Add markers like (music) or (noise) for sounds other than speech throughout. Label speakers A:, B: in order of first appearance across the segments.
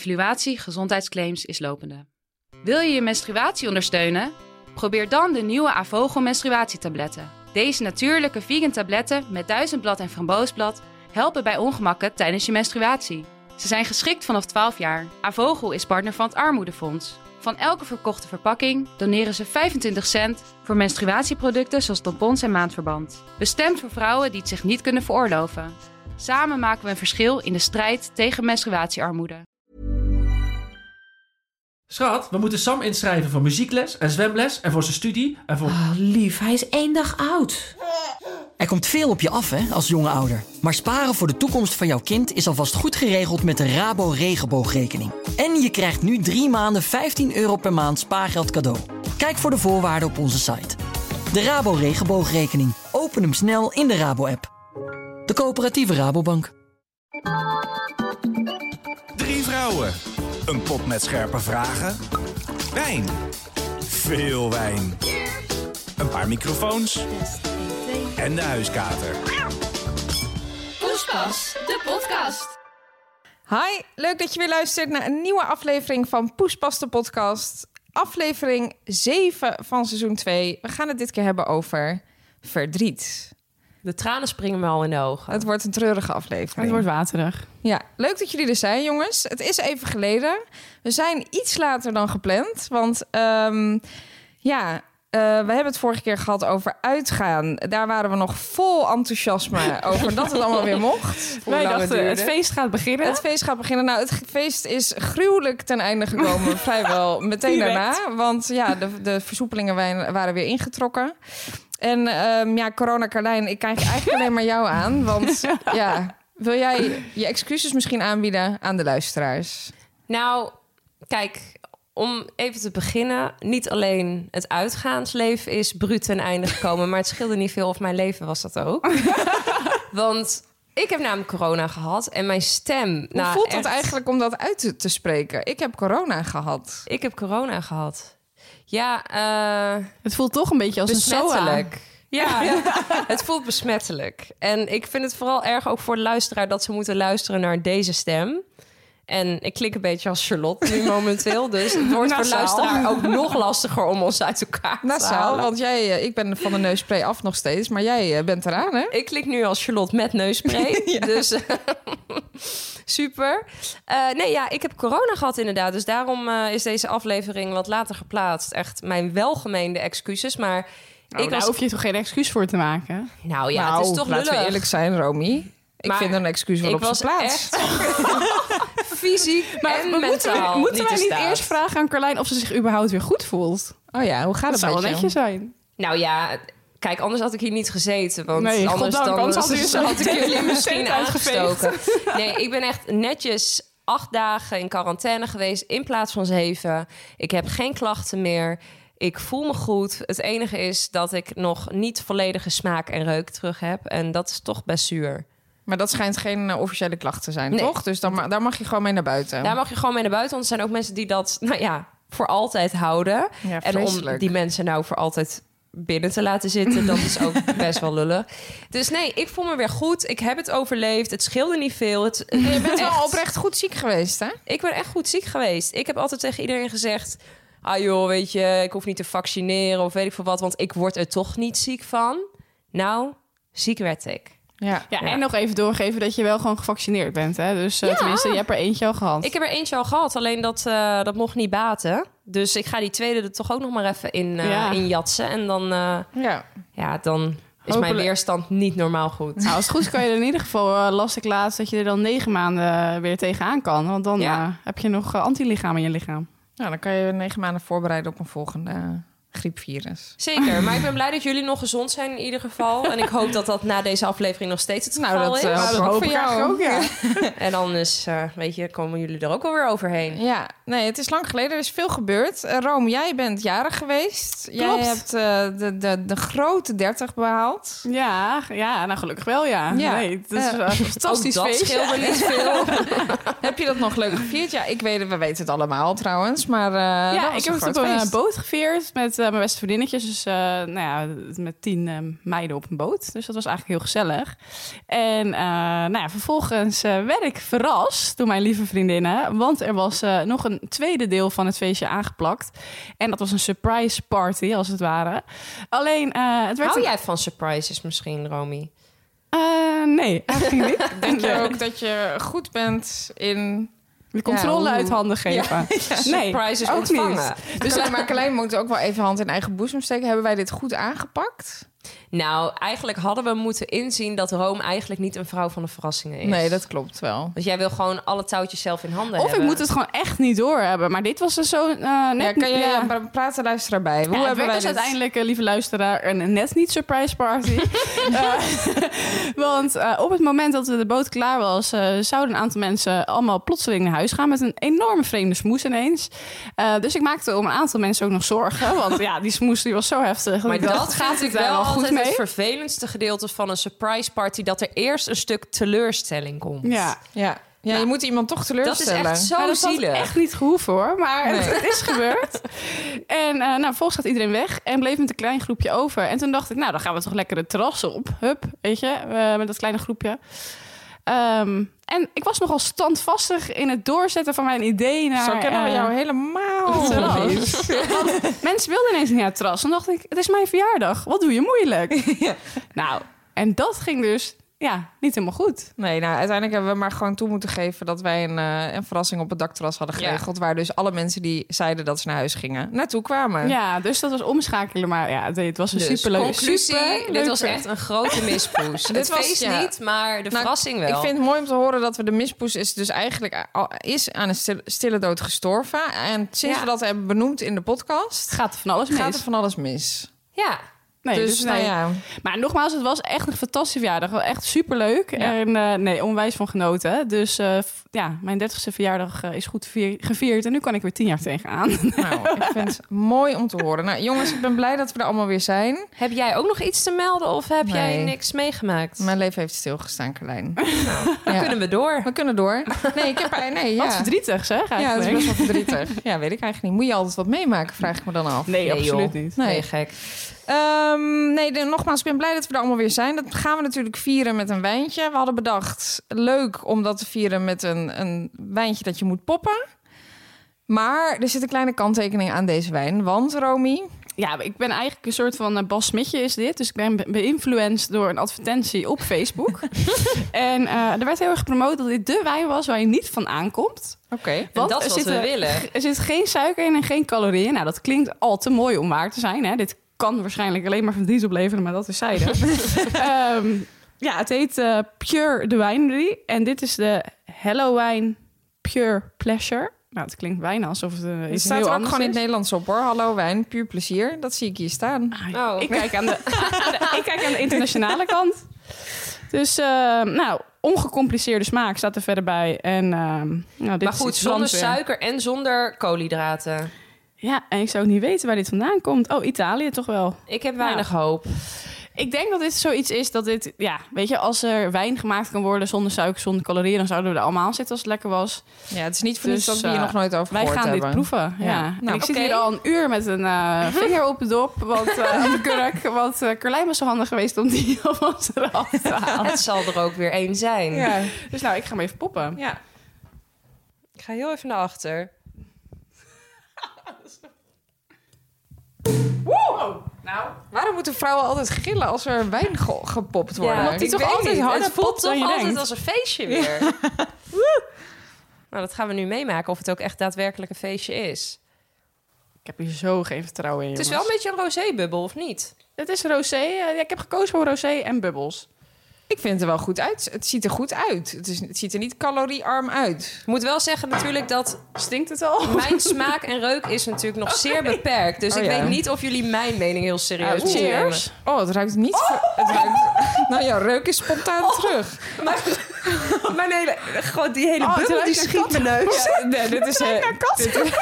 A: Evaluatie gezondheidsclaims is lopende. Wil je je menstruatie ondersteunen? Probeer dan de nieuwe Avogel menstruatietabletten. Deze natuurlijke vegan tabletten met duizendblad en framboosblad helpen bij ongemakken tijdens je menstruatie. Ze zijn geschikt vanaf 12 jaar. Avogel is partner van het Armoedefonds. Van elke verkochte verpakking doneren ze 25 cent voor menstruatieproducten zoals tampons en maandverband. Bestemd voor vrouwen die het zich niet kunnen veroorloven. Samen maken we een verschil in de strijd tegen menstruatiearmoede.
B: Schat, we moeten Sam inschrijven voor muziekles en zwemles en voor zijn studie en voor...
C: Oh, lief, hij is één dag oud.
D: Er komt veel op je af hè, als jonge ouder. Maar sparen voor de toekomst van jouw kind is alvast goed geregeld met de Rabo Regenboogrekening. En je krijgt nu drie maanden 15 euro per maand spaargeld cadeau. Kijk voor de voorwaarden op onze site. De Rabo Regenboogrekening. Open hem snel in de Rabo-app. De coöperatieve Rabobank.
E: Drie vrouwen. Een pot met scherpe vragen. Wijn. Veel wijn. Een paar microfoons. En de huiskater.
F: Poespas, de podcast.
G: Hi, leuk dat je weer luistert naar een nieuwe aflevering van Poespas de podcast. Aflevering 7 van seizoen 2. We gaan het dit keer hebben over verdriet.
H: De tranen springen me al in de ogen.
G: Het wordt een treurige
I: Oh. Het
G: aflevering.
I: wordt waterig.
G: Ja, leuk dat jullie er zijn, jongens. Het is even geleden. We zijn iets later dan gepland, want ehm, ja, eh, we hebben het vorige keer gehad over uitgaan. Daar waren we nog vol enthousiasme over dat het allemaal weer mocht. Hoe lang
I: Wij
G: het
I: dachten, het,
G: duurde.
I: feest gaat beginnen.
G: Het feest gaat beginnen. Nou, het ge- feest is gruwelijk ten einde
H: (laughs)
G: gekomen. vrijwel meteen
I: Direct.
G: daarna. Want ja, de, de versoepelingen wij- waren weer ingetrokken. En ehm, ja, Corona Carlijn, ik kijk eigenlijk alleen maar jou aan.
H: (laughs)
G: Want ja, wil jij je excuses misschien aanbieden aan de luisteraars?
H: Nou, kijk, om even te beginnen. Niet alleen het uitgaansleven is bruut ten einde gekomen. (laughs) maar het scheelde niet veel of mijn leven was dat ook. Want ik heb namelijk corona gehad en mijn stem.
G: Hoe
H: nou,
G: voelt dat
H: echt-
G: eigenlijk om dat uit te, te spreken? Ik heb corona gehad.
H: Ik heb corona gehad. Ja, eh,
I: Het voelt toch een beetje als een soa.
H: besmettelijk. (laughs) Ja, het voelt besmettelijk. En ik vind het vooral erg ook voor de luisteraar dat ze moeten luisteren naar deze stem. En ik klink een beetje als Charlotte nu momenteel. Dus het wordt voor de
I: Nasaal.
H: luisteraar ook nog lastiger om ons uit elkaar te
G: Nasaal,
H: halen.
G: want jij, eh, ik ben van de neusspray af nog steeds, maar jij eh, bent eraan, hè?
H: Ik klink nu als Charlotte met
I: (laughs)
H: neusspray. Dus eh, (laughs) super. Eh, nee, ja, ik heb corona gehad inderdaad. Dus daarom eh, is deze aflevering wat later geplaatst. Echt mijn welgemeende excuses. Maar
I: ik
H: ik was...
I: Nou, hoef je toch geen excuus voor te maken?
H: Nou ja,
G: Nou,
H: het is toch
G: laten we
H: lullig.
G: eerlijk zijn, Romy. Ik
H: Maar
G: vind een excuus wel
H: ik
G: op zijn
H: was
G: plaats.
H: echt (laughs) fysiek en
I: we moeten,
H: mentaal
I: moeten
H: niet
I: wij
H: in
I: niet
H: staat.
I: eerst vragen aan Carlijn of ze zich überhaupt weer goed voelt?
G: Oh ja, hoe gaat
I: Dat
G: het
I: zou
G: met
I: wel
G: je?
I: netjes zijn.
H: Nou ja, kijk, anders had ik hier niet gezeten. Want
I: Nee,
H: anders,
I: goddank,
H: dan,
I: anders had u
H: (laughs)
I: zo
H: ik jullie
I: (laughs) meteen
H: misschien
I: uitgeveegd.
H: aangestoken. Nee, ik ben echt netjes acht dagen in quarantaine geweest in plaats van zeven. Ik heb geen klachten meer. Ik voel me goed. Het enige is dat ik nog niet volledige smaak en reuk terug heb. En dat is toch best zuur.
G: Maar dat schijnt geen eh, officiële klacht te zijn,
H: Nee.
G: toch? Dus dan, ma- daar mag je gewoon mee naar buiten.
H: Daar mag je gewoon mee naar buiten. Want er zijn ook mensen die dat, nou ja, voor altijd houden.
G: Ja,
H: en om
G: vreselijk.
H: die mensen nou voor altijd binnen te laten zitten, dat is
G: (laughs)
H: ook best wel lullig. Dus nee, ik voel me weer goed. Ik heb het overleefd. Het scheelde niet veel. Het,
G: Je bent
H: echt-
G: wel oprecht goed ziek geweest, hè?
H: Ik ben echt goed ziek geweest. Ik heb altijd tegen iedereen gezegd... Ah joh, weet je, ik hoef niet te vaccineren of weet ik veel wat... want ik word er toch niet ziek van. Nou, ziek werd ik.
G: Ja.
I: Ja, en nog even doorgeven dat je wel gewoon gevaccineerd bent. Hè? Dus eh, tenminste, je hebt er eentje al gehad.
H: Ik heb er eentje al gehad, alleen dat, eh, dat mocht niet baten. Dus ik ga die tweede er toch ook nog maar even in, eh,
I: Ja.
H: in jatsen. En dan, eh,
G: Ja.
H: ja, dan is mijn
I: Hopelijk.
H: weerstand niet normaal goed.
I: Nou, als het goed is, kan je er in ieder geval, eh, las ik laatst, dat je er dan negen maanden eh, weer tegenaan kan. Want dan
H: Ja.
I: eh, heb je nog eh, antilichamen in je lichaam.
G: Nou, dan kan je negen maanden voorbereiden op een volgende eh, griepvirus.
H: Zeker, maar ik ben blij dat jullie nog gezond zijn in ieder geval. En ik hoop dat dat na deze aflevering nog steeds het geval
G: Nou, dat,
H: is.
G: eh,
I: dat
G: hoop
I: hoop
G: ik
I: ik eigenlijk
G: jou.
I: ook, ja.
H: En dan is, eh, weet je, komen jullie er ook alweer
G: (laughs)
H: overheen.
G: Ja, nee, het is lang geleden. Er is veel gebeurd. Eh, Rome, jij bent jarig geweest. Jij
I: Klopt.
G: hebt eh, de, de, de grote 30 behaald.
I: Ja, ja, nou gelukkig wel, ja.
G: Ja.
I: Nee, het is
G: Ja.
I: een fantastisch
H: ook dat
I: feest.
H: scheelde niet veel.
G: (laughs) heb je dat nog leuk gevierd? Ja, ik weet het. We weten het allemaal trouwens. Maar eh, dat
I: Ja,
G: was
I: ik
G: een
I: heb het
G: groot
I: op een
G: feest.
I: eh, boot geveerd met eh, mijn beste vriendinnetjes. Dus eh, nou ja, met tien eh, meiden op een boot. Dus dat was eigenlijk heel gezellig. En eh, nou ja, vervolgens eh, werd ik verrast door mijn lieve vriendinnen. Want er was eh, nog een tweede deel van het feestje aangeplakt. En dat was een surprise party, als het ware. Alleen, eh, het werd...
H: Hou
I: een-
H: jij van surprises misschien, Romy?
I: Eh, nee, eigenlijk
G: (laughs)
I: niet.
G: Denk je ook dat je goed bent in...
I: De controle
G: Ja, (laughs) hoe-
I: uit handen geven. Nee,
H: surprises
I: ook
H: ontvangen.
I: niet.
G: Dus alleen maar Klein moet ook wel even hand in eigen boezem steken. Hebben wij dit goed aangepakt?
H: Nou, eigenlijk hadden we moeten inzien dat Rome eigenlijk niet een vrouw van de verrassingen is.
G: Nee, dat klopt wel.
H: Want jij wil gewoon alle touwtjes zelf in handen
I: Of
H: hebben.
I: ik moet het gewoon echt niet doorhebben. Maar dit was dus zo... eh,
G: Ja,
I: net,
G: kan je
I: ja.
G: pra- praten luisteren bij? Hoe
I: Ja, het
G: hebben
I: werd
G: wij
I: dus
G: dit?
I: uiteindelijk, eh, lieve luisteraar, een net niet surprise
H: (laughs)
I: party. Eh, (laughs) want eh, op het moment dat de boot klaar was, eh, zouden een aantal mensen allemaal plotseling naar huis gaan met een enorme vreemde smoes ineens. Eh, dus ik maakte om een aantal mensen ook nog zorgen.
H: (laughs)
I: Want ja, die smoes die was zo heftig. dat
H: Maar
I: ik
H: dat,
I: dacht,
H: gaat ik
I: daar
H: wel altijd het vervelendste gedeelte van een surprise party... dat er eerst een stuk teleurstelling komt.
I: Ja,
G: Ja. Ja, je moet iemand toch
H: Dat is
G: teleurstellen.
H: echt zo
I: Maar dat had
H: zielig.
I: echt niet gehoeven hoor, maar
G: Nee.
I: het is
G: (laughs)
I: gebeurd. En eh, nou, vervolgens gaat iedereen weg en bleef met een klein groepje over. En toen dacht ik, nou, dan gaan we toch lekker het terras op. Hup, weet je, eh, met dat kleine groepje. Ehm, en ik was nogal standvastig in het doorzetten van mijn idee naar...
G: Zo kennen we
I: eh,
G: jou helemaal.
I: het terras. (laughs) Want mensen wilden ineens niet naar het terras. En dacht ik, het is mijn verjaardag, wat doe je
G: (laughs)
I: moeilijk? Nou, en dat ging dus, ja, niet helemaal goed.
G: Nee, nou, uiteindelijk hebben we maar gewoon toe moeten geven dat wij een, eh, een verrassing op het dakterras hadden
H: Ja.
G: geregeld. Waar dus alle mensen die zeiden dat ze naar huis gingen, naartoe kwamen.
I: Ja, dus dat was omschakelen. Maar ja, het- het was een
H: Dus
I: superleuk...
H: conclusie, dit
I: superleuk
H: was echt een grote
I: (laughs)
H: mispoes.
G: Dit
H: het
G: was-
H: feest
G: ja.
H: niet, maar de
G: Nou,
H: verrassing wel.
G: Ik vind het mooi om te horen dat we de mispoes is dus eigenlijk al- is aan een stil- stille dood gestorven. En sinds
H: Ja.
G: we dat hebben benoemd in de podcast,
I: gaat er van alles mis.
G: gaat er van alles mis.
H: Ja,
I: Nee,
G: dus,
I: dus,
G: nou
I: nee.
G: ja,
I: Maar nogmaals, het was echt een fantastische verjaardag. Wel Echt superleuk. En eh, nee, onwijs van genoten. Dus eh, f- ja, mijn 30ste verjaardag eh, is goed veer- gevierd. En nu kan ik weer tien jaar
G: (laughs)
I: tegenaan. (laughs)
G: nou, ik vind het mooi om te horen. Nou, jongens, ik ben blij dat we er allemaal weer zijn.
H: heb jij ook nog iets te melden of heb jij
G: Nee.
H: niks meegemaakt?
G: Mijn leven heeft stilgestaan, Carlijn.
H: Dan
G: Ja.
H: kunnen we door.
G: We Nou, kunnen door. Nee, ik heb er... Nee, ja.
I: Wat verdrietig zeg
G: Ja, dat is
I: eigenlijk.
G: best wel verdrietig. Ja, weet ik eigenlijk niet. Moet je altijd wat meemaken, vraag ik me dan af.
I: nee,
H: Nee,
I: absoluut
H: joh.
I: niet.
G: Nee.
H: Nee, gek.
G: Ehm, nee, de- nogmaals, ik ben blij dat we er allemaal weer zijn. Dat gaan we natuurlijk vieren met een wijntje. We hadden bedacht, leuk om dat te vieren met een, een wijntje dat je moet poppen. Maar er zit een kleine kanttekening aan deze wijn. Want, Romy...
I: Ja, ik ben eigenlijk een soort van eh, Bas Smitje is dit. Dus ik ben be- beïnfluenced door een advertentie op Facebook. en eh, er werd heel erg gepromoot dat dit de wijn was waar je niet van aankomt.
G: Oké.
H: En
I: Want
H: dat
I: er
H: is wat we
I: zitten- (laughs)
H: willen.
I: Er zit geen suiker in en geen calorieën. Nou, dat klinkt al te mooi om waar te zijn. Hè? Dit kan waarschijnlijk alleen maar verdriet opleveren, maar dat is zijde. (laughs) Ehm, ja, het heet eh, Pure de Winery. En dit is de Hello Wine Pure Pleasure. Nou, het klinkt bijna alsof het eh,
G: Het
I: iets
G: staat
I: heel
G: er ook
I: anders
G: gewoon in
I: is.
G: het Nederlands op, hoor. Hallo wijn, puur plezier. Dat zie ik hier staan.
I: Ah,
H: Oh.
I: Ik, kijk aan de, (laughs) ik kijk aan de internationale kant. Dus, eh, nou, ongecompliceerde smaak staat er verder bij. En, ehm, nou, dit
H: Maar
I: is
H: goed,
I: iets
H: zonder
I: Frans weer.
H: suiker en zonder koolhydraten.
I: Ja, en ik zou ook niet weten waar dit vandaan komt. Oh, Italië toch wel.
H: Ik heb weinig hoop.
I: (laughs) Ik denk dat dit zoiets is dat dit... Ja, weet je, als er wijn gemaakt kan worden zonder suiker, zonder calorieën... dan zouden we er allemaal aan zitten als het lekker was.
G: Ja, het is niet voor
I: Dus,
G: niets dat we hier
I: eh,
G: nog nooit over
I: Wij
G: gehoord
I: gaan
G: hebben.
I: dit proeven, ja.
G: Ja.
I: En
G: Nou,
I: ik zit
H: oké.
I: hier al een uur met een (laughs) eh, vinger op de dop, want, eh, op de kurk. Want eh Carlijn was zo handig geweest om die (laughs) alvast eraf te halen.
H: Het zal er ook weer één zijn.
G: Ja.
I: Dus nou, ik ga hem even poppen.
G: ja.
H: Ik ga heel even naar achter.
I: Nou,
G: Waarom moeten vrouwen altijd gillen als er wijn ge- gepopt wordt?
H: Ja,
G: Ik
H: ik
G: weet
H: weet
G: niet.
H: niet.
G: Het
H: Het voelt
I: dan
H: toch
I: je
H: altijd
I: denkt.
H: als een feestje (laughs) weer. nou, dat gaan we nu meemaken of het ook echt daadwerkelijk een feestje is.
I: ik heb hier zo geen vertrouwen in,
H: Het is wel een beetje een rosébubbel, of niet?
I: Het is rosé. eh, ja, ik heb gekozen voor rosé en bubbels.
G: Ik vind het er wel goed uit. Het ziet er goed uit. Het, is, het ziet er niet caloriearm uit.
H: Ik moet wel zeggen natuurlijk dat
I: Stinkt het al?
H: mijn smaak en reuk is natuurlijk nog zeer beperkt. Dus
G: Oh,
H: ik
G: ja.
H: weet niet of jullie mijn mening heel serieus
I: Ah,
H: moeten
I: cheers.
H: nemen.
G: Oh, het ruikt niet. Het ruikt, (laughs) nou ja, reuk is spontaan
I: Oh!
G: terug.
H: Mijn hele, gewoon die hele
I: het
H: bubbel die
I: ruikt naar
H: schiet mijn neus.
G: Ja, nee, dit is. eh, dit-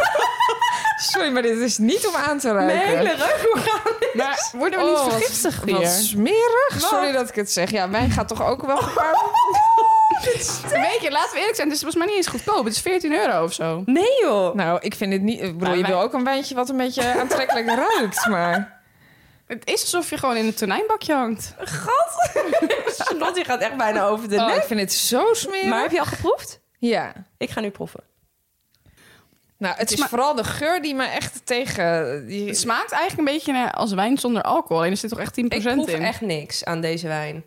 G: sorry, maar dit is (laughs) niet om aan te ruiken.
I: Maar worden we
G: Oh,
I: niet
G: wat-
I: vergiftigd
G: Wat
I: hier?
G: smerig. Sorry dat ik het zeg. Ja, wijn gaat toch ook wel gepaard.
I: Weet je, laten we eerlijk zijn. Het is volgens mij niet eens goedkoop. Het is 14 euro of zo.
H: Nee joh.
G: Nou, ik vind het niet... Ik bedoel,
I: Nou,
G: je
I: wij-
G: wil ook een wijntje wat een beetje aantrekkelijk ruikt, maar...
I: Het is alsof je gewoon in een tonijnbakje hangt.
H: Charlotte die gaat echt bijna over de
G: Oh,
H: nek.
G: ik vind het zo smerig.
H: Maar heb je al geproefd?
G: Ja.
H: Ik ga nu proeven.
G: Nou, het is
I: maar-
G: vooral de geur die me echt tegen... Die...
I: Het smaakt eigenlijk een beetje eh, als wijn zonder alcohol. En er zit toch echt 10%
H: Ik
I: in.
H: proef echt niks aan deze wijn.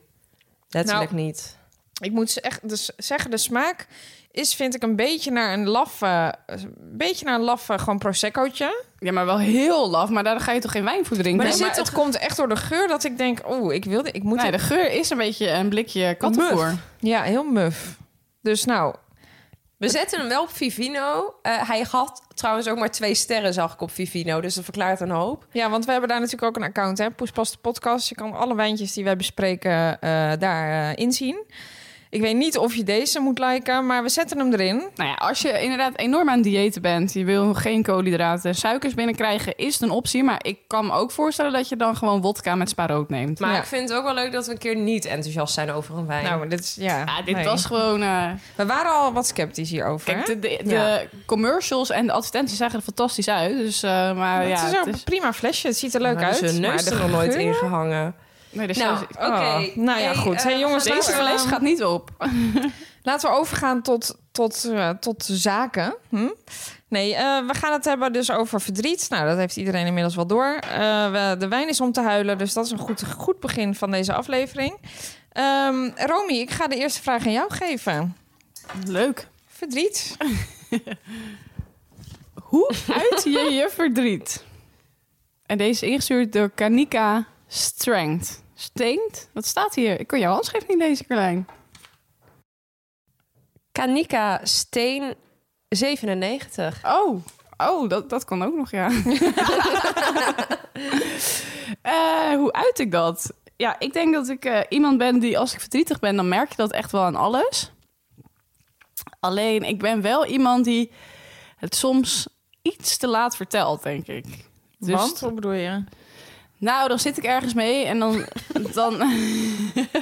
H: Letterlijk niet.
G: Ik moet ze echt dus zeggen, de smaak is, vind ik, een beetje naar een laffe... Een beetje naar een laffe gewoon proseccootje.
I: Ja, maar wel heel laf. Maar daar ga je toch geen wijn voor drinken?
G: Maar,
I: Nee,
G: maar het komt echt door de geur dat ik denk... Oeh, ik wilde... Ik moet
I: Nee, de geur is een beetje een blikje kattenvoer.
G: Ja, heel muf. Dus nou,
H: We zetten hem wel op Vivino. Eh, hij had trouwens ook maar twee sterren, zag ik op Vivino. Dus dat verklaart een hoop.
G: ja, want we hebben daar natuurlijk ook een account, hè? Poespas de podcast. Je kan alle wijntjes die wij bespreken eh, daar eh, inzien. Ik weet niet of je deze moet liken, maar we zetten hem erin.
I: Nou ja, als je inderdaad enorm aan het diëten bent, je wil geen koolhydraten en suikers binnenkrijgen, is het een optie. Maar ik kan me ook voorstellen dat je dan gewoon wodka met spaarrood neemt.
H: Maar
G: Ja.
H: ik vind het ook wel leuk dat we een keer niet enthousiast zijn over een wijn.
G: Nou, dit is ja.
H: Ah,
I: ja, dit
G: nee.
I: was gewoon. eh,
G: We waren al wat sceptisch hierover.
I: kijk,
G: hè?
I: de, de, de
G: Ja.
I: commercials en de advertenties zagen er fantastisch uit. Dus, eh, maar
H: oh
G: het
I: ja,
G: is ook een prima flesje. Het ziet er leuk
H: Maar
G: uit.
H: dus hun neus
G: maar de
H: er nog nooit
G: geur-
H: ingehangen.
I: nee, er is
H: Nou,
I: zelfs-
H: oké.
G: Oh, nou ja,
H: Hey,
G: goed.
H: eh,
G: Hey, jongens,
H: we gaan
I: deze
G: nou,
H: door.
I: fles gaat niet op.
G: Laten we overgaan tot, tot, eh, tot zaken. Hm? Nee, eh, we gaan het hebben dus over verdriet. Nou, dat heeft iedereen inmiddels wel door. Eh, we- de wijn is om te huilen, dus dat is een goed, goed begin van deze aflevering. Ehm Romy, ik ga de eerste vraag aan jou geven.
I: Leuk.
G: Verdriet.
I: Hoe uit je je verdriet? En deze is ingestuurd door Kanika Strength. Steent? Wat staat hier? Ik kan jouw handschrift niet lezen, Carlijn.
H: Kanika Steen 97.
I: Oh, oh dat, dat kan ook nog, ja. Eh, hoe uit ik dat? Ja, ik denk dat ik eh, iemand ben die als ik verdrietig ben, dan merk je dat echt wel aan alles. Alleen, ik ben wel iemand die het soms iets te laat vertelt, denk ik. Dus-
G: Want, hoe bedoel je?
I: Nou, dan zit ik ergens mee en dan... dan...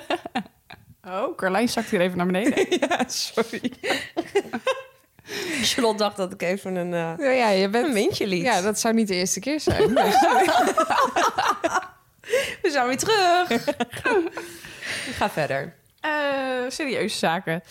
I: (laughs) oh, Carlijn zakt hier even
G: (laughs)
I: naar beneden.
G: Sorry.
H: (laughs) Charlotte dacht dat ik even een, eh
G: Ja, ja, je bent...
H: een windje liet.
G: Ja, dat zou niet de eerste keer zijn.
H: (laughs)
G: dus-
H: We zijn weer terug.
G: (laughs)
H: ik ga verder.
I: Eh, serieuze zaken.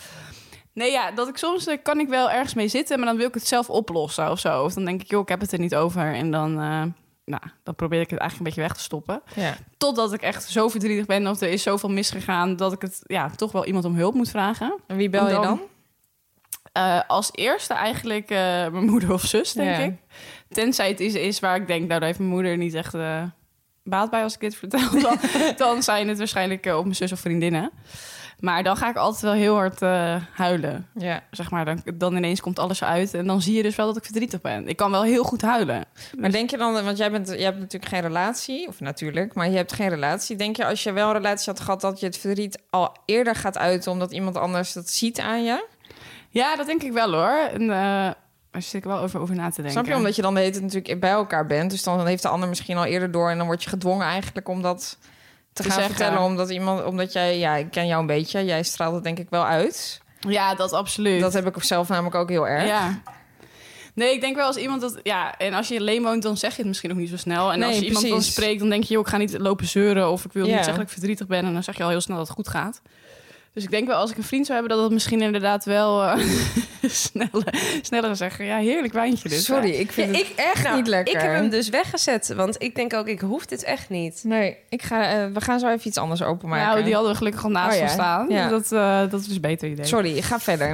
I: Nee, ja, dat ik soms eh, kan ik wel ergens mee zitten, maar dan wil ik het zelf oplossen of zo. Of dan denk ik, joh, ik heb het er niet over. En dan, eh, nou, dan probeer ik het eigenlijk een beetje weg te stoppen.
G: ja.
I: Totdat ik echt zo verdrietig ben of er is zoveel misgegaan dat ik het ja, toch wel iemand om hulp moet vragen.
G: En wie bel je
I: Dan-
G: dan?
I: Eh, als eerste eigenlijk eh, mijn (laughs) moeder of zus, denk
G: Ja.
I: ik. Tenzij het iets is waar ik denk, nou, daar heeft mijn moeder niet echt eh, baat bij als ik dit vertel. (laughs) Dan, dan zijn het waarschijnlijk eh, op mijn zus of vriendinnen. Maar dan ga ik altijd wel heel hard eh, huilen.
G: Ja.
I: Zeg maar, dan, dan ineens komt alles uit en dan zie je dus wel dat ik verdrietig ben. Ik kan wel heel goed huilen.
G: Maar denk je dan, want jij bent, je hebt natuurlijk geen relatie, of natuurlijk, maar je hebt geen relatie. Denk je als je wel een relatie had gehad, dat je het verdriet al eerder gaat uiten, omdat iemand anders dat ziet aan je?
I: Ja, dat denk ik wel hoor. En, eh, daar zit ik wel over, over na te denken.
G: Snap je? Omdat je dan de hele tijd natuurlijk bij elkaar bent, dus dan heeft de ander misschien al eerder door en dan word je gedwongen eigenlijk om dat te,
I: Te
G: gaan
I: zeggen.
G: vertellen, omdat iemand, omdat jij, ja, ik ken jou een beetje, jij straalt het denk ik wel uit.
I: Ja, dat absoluut.
G: Dat heb ik zelf namelijk ook heel erg.
I: Ja. Nee, ik denk wel als iemand dat... Ja, en als je alleen woont, dan zeg je het misschien ook niet zo snel. En
G: Nee,
I: als je iemand dan
G: precies.
I: spreekt, dan denk je... joh, ik ga niet lopen zeuren of ik wil
G: Ja.
I: niet zeggen dat ik verdrietig ben. En dan zeg je al heel snel dat het goed gaat. Dus ik denk wel als ik een vriend zou hebben... dat dat misschien inderdaad wel eh, (laughs) sneller, sneller zou zeggen. Ja, heerlijk wijntje dus.
G: Sorry, ik vind het echt
H: nou,
G: niet lekker.
H: Ik heb hem dus weggezet, want ik denk ook, ik hoef dit echt niet.
G: Nee, ik ga, eh, we gaan zo even iets anders openmaken.
I: Nou, die hadden we gelukkig al naast
G: Oh ja,
I: ons staan.
G: ja.
I: Dat, eh, dat is een beter idee.
G: Sorry, ik ga verder.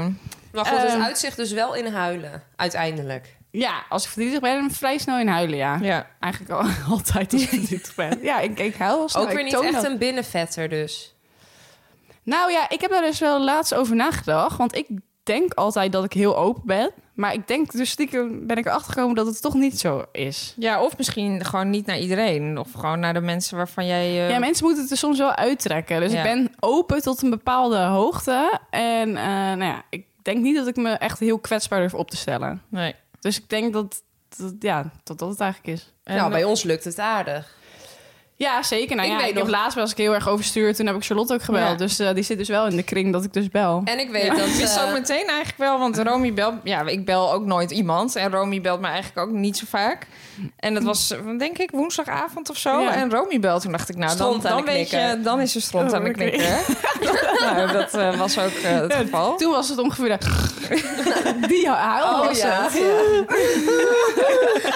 H: Maar goed, het
I: Ehm.
H: uitzicht dus wel in huilen, uiteindelijk.
I: Ja, als ik verdrietig ben, dan vrij snel in huilen, ja.
G: Ja.
I: Eigenlijk al, (laughs) altijd als ik verdrietig ben. Ja, ik, ik huil wel
G: Nou,
I: snel.
H: ook weer
I: Ik
H: niet
I: toon
H: echt
I: dat
H: een binnenvetter dus.
I: Nou ja, ik heb daar dus wel laatst over nagedacht. Want ik denk altijd dat ik heel open ben. Maar ik denk dus stiekem ben ik erachter gekomen dat het toch niet zo is.
G: Ja, of misschien gewoon niet naar iedereen. Of gewoon naar de mensen waarvan jij... eh,
I: Ja, mensen moeten het er soms wel uittrekken. Dus ik
G: Ja.
I: ben open tot een bepaalde hoogte. En eh, nou ja, ik denk niet dat ik me echt heel kwetsbaar durf op te stellen.
G: Nee.
I: Dus ik denk dat, dat ja, dat dat het eigenlijk is.
G: En-
H: nou, bij ons lukt het aardig.
I: Ja, zeker. Nou,
G: Ik
I: ja,
G: weet
I: ik heb
G: nog-
I: laatst was ik heel erg overstuurd. Toen heb ik Charlotte ook gebeld.
G: Ja.
I: Dus eh, die zit dus wel in de kring dat ik dus bel.
G: En ik weet dat... (laughs) Ik
H: Eh,
G: wist ook meteen eigenlijk wel, want Romy belt... Ja, ik bel ook nooit iemand. En Romy belt me eigenlijk ook niet zo vaak. En dat was, eh, denk ik, woensdagavond of zo.
I: Ja.
G: En Romy belt. Toen dacht ik, nou, dan,
H: Stront aan
G: dan
H: de
G: weet je...
H: knikker.
G: Dan is er stront
I: Oh,
G: aan de
I: oké.
G: knikker.
H: (laughs)
G: nou, dat eh, was ook eh, het geval.
I: Oh. Toen was het
G: (laughs)
I: ongeveer... de- Oh, die huil was het.
H: Oh, (laughs)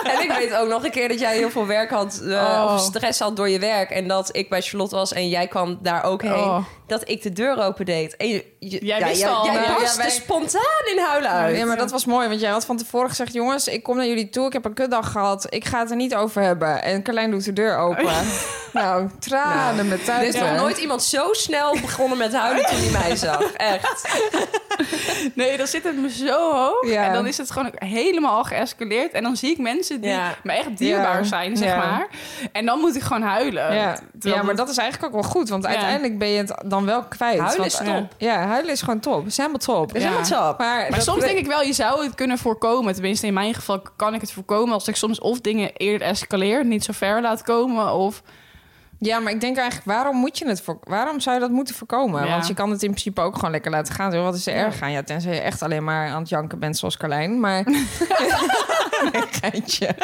H: En ik weet ook nog een keer dat jij heel veel werk had, eh,
I: Oh.
H: of stress had door je werk. En dat ik bij Charlotte was en jij kwam daar ook heen.
I: Oh.
H: Dat ik de deur open deed. En je- je-
I: Jij wist al,
H: Jij,
I: hè?
H: barstte
G: eh, Ja, wij-
H: spontaan in huilen uit.
G: Ja, maar dat was mooi, want jij had van tevoren gezegd... jongens, ik kom naar jullie toe, ik heb een kutdag gehad... ik ga het er niet over hebben. En Carlijn doet de deur
H: Oh,
G: open. nou, tranen met
H: Er
G: tuiten.
H: is nog nooit iemand zo snel begonnen met huilen toen hij mij zag. Echt.
I: Nee, dan zit het me zo hoog.
G: Ja.
I: En dan is het gewoon ook helemaal geëscaleerd. En dan zie ik mensen die
H: Ja.
I: me echt dierbaar
G: Ja.
I: zijn, zeg
G: Ja.
I: maar. En dan moet ik gewoon huilen.
G: Ja.
I: Terwijl
G: ja, maar dat is eigenlijk ook wel goed, want
I: Ja.
G: uiteindelijk ben je het dan wel kwijt.
H: Huilen
G: Want-
H: is top.
G: Ja, huilen is gewoon top. Is helemaal top.
I: Is helemaal
G: top. Maar,
I: Maar soms denk ik wel, je zou het kunnen voorkomen. Tenminste, in mijn geval kan ik het voorkomen als ik soms of dingen eerder escaleer, niet zo ver laat komen. Of
G: Ja, maar ik denk eigenlijk, waarom moet je het voor... Waarom zou je dat moeten voorkomen?
I: Ja.
G: Want je kan het in principe ook gewoon lekker laten gaan. Zo, Wat is er erg aan? Ja, tenzij je echt alleen maar aan het janken bent zoals Carlijn. Maar... nee, geintje.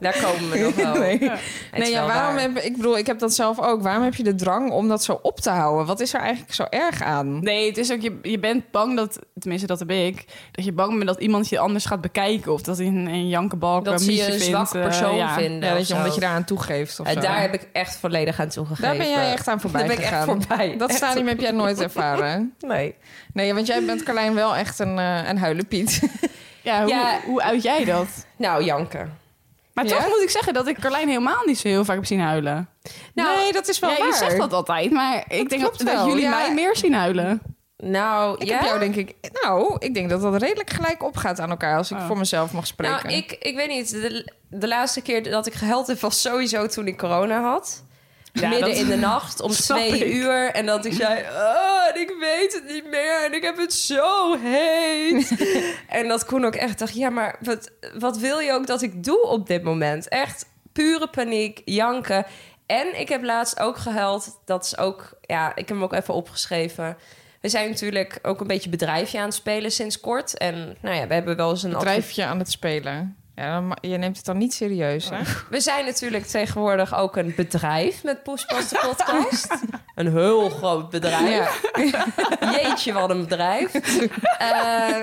H: Daar komen we nog wel.
G: Nee.
H: Het is
G: Nee, ja,
H: wel
G: waarom
H: waar.
G: heb ik bedoel, ik heb dat zelf ook. Waarom heb je de drang om dat zo op te houden? Wat is er eigenlijk zo erg aan?
I: nee, het is ook, je, je bent bang dat, tenminste dat heb ik, dat je bang bent dat iemand je anders gaat bekijken. Of dat hij een, een jankenbalk
H: dat
I: een
H: ze je
I: miesje
H: een
I: vindt,
H: zwak
I: eh,
H: persoon
I: ja.
G: Ja,
H: vinden.
G: dat
H: of
G: je,
H: zo.
G: omdat je daaraan toegeeft of
H: Eh,
G: zo.
H: daar heb ik echt volledig aan toegegeven.
G: Daar ben jij echt aan voorbij
H: Daar ben ik echt
G: gegaan.
H: voorbij.
G: Dat
H: Echt.
G: stadium heb jij
H: (laughs)
G: nooit ervaren.
H: Nee.
G: Nee, want jij bent Carlijn wel echt een, eh een huilenpiet. (laughs)
I: Ja, hoe,
H: Ja.
I: hoe uit jij dat?
H: Nou, janken.
I: Maar
G: Ja?
I: toch moet ik zeggen dat ik Carlijn helemaal niet zo heel vaak heb zien huilen.
H: Nou,
G: nee, dat is wel
I: Ja,
G: waar.
I: je zegt dat altijd, maar ik denk
G: klopt
I: dat, dat
G: wel,
I: jullie
G: ja.
I: mij meer zien huilen.
H: Nou,
G: Ik
H: ja?
G: heb jou denk ik... Nou, ik denk dat dat redelijk gelijk opgaat aan elkaar... als ik
I: Oh.
G: voor mezelf mag spreken.
H: Nou, ik, ik weet niet. De, de laatste keer dat ik gehuild heb was sowieso toen ik corona had.
I: Ja,
H: Midden
I: dat-
H: in de nacht om
I: (laughs) snap
H: twee
I: ik.
H: uur. En dat ik zei, oh, en ik weet het niet meer. En ik heb het zo
I: (laughs)
H: heet. en dat Koen ook echt dacht, ja, maar wat, wat wil je ook dat ik doe op dit moment? Echt pure paniek, janken. En ik heb laatst ook gehuild. Dat is ook, ja, ik heb hem ook even opgeschreven. We zijn natuurlijk ook een beetje bedrijfje aan het spelen sinds kort. En nou ja, we hebben wel eens een adver-
G: Drijf je aan het spelen. Ja, dan ma- je neemt het dan niet serieus, hè?
H: We zijn natuurlijk tegenwoordig ook een bedrijf met Poespas de
G: (laughs)
H: podcast. Een heel groot bedrijf.
G: Ja.
H: Jeetje, wat een
G: (laughs)
H: bedrijf. Eh,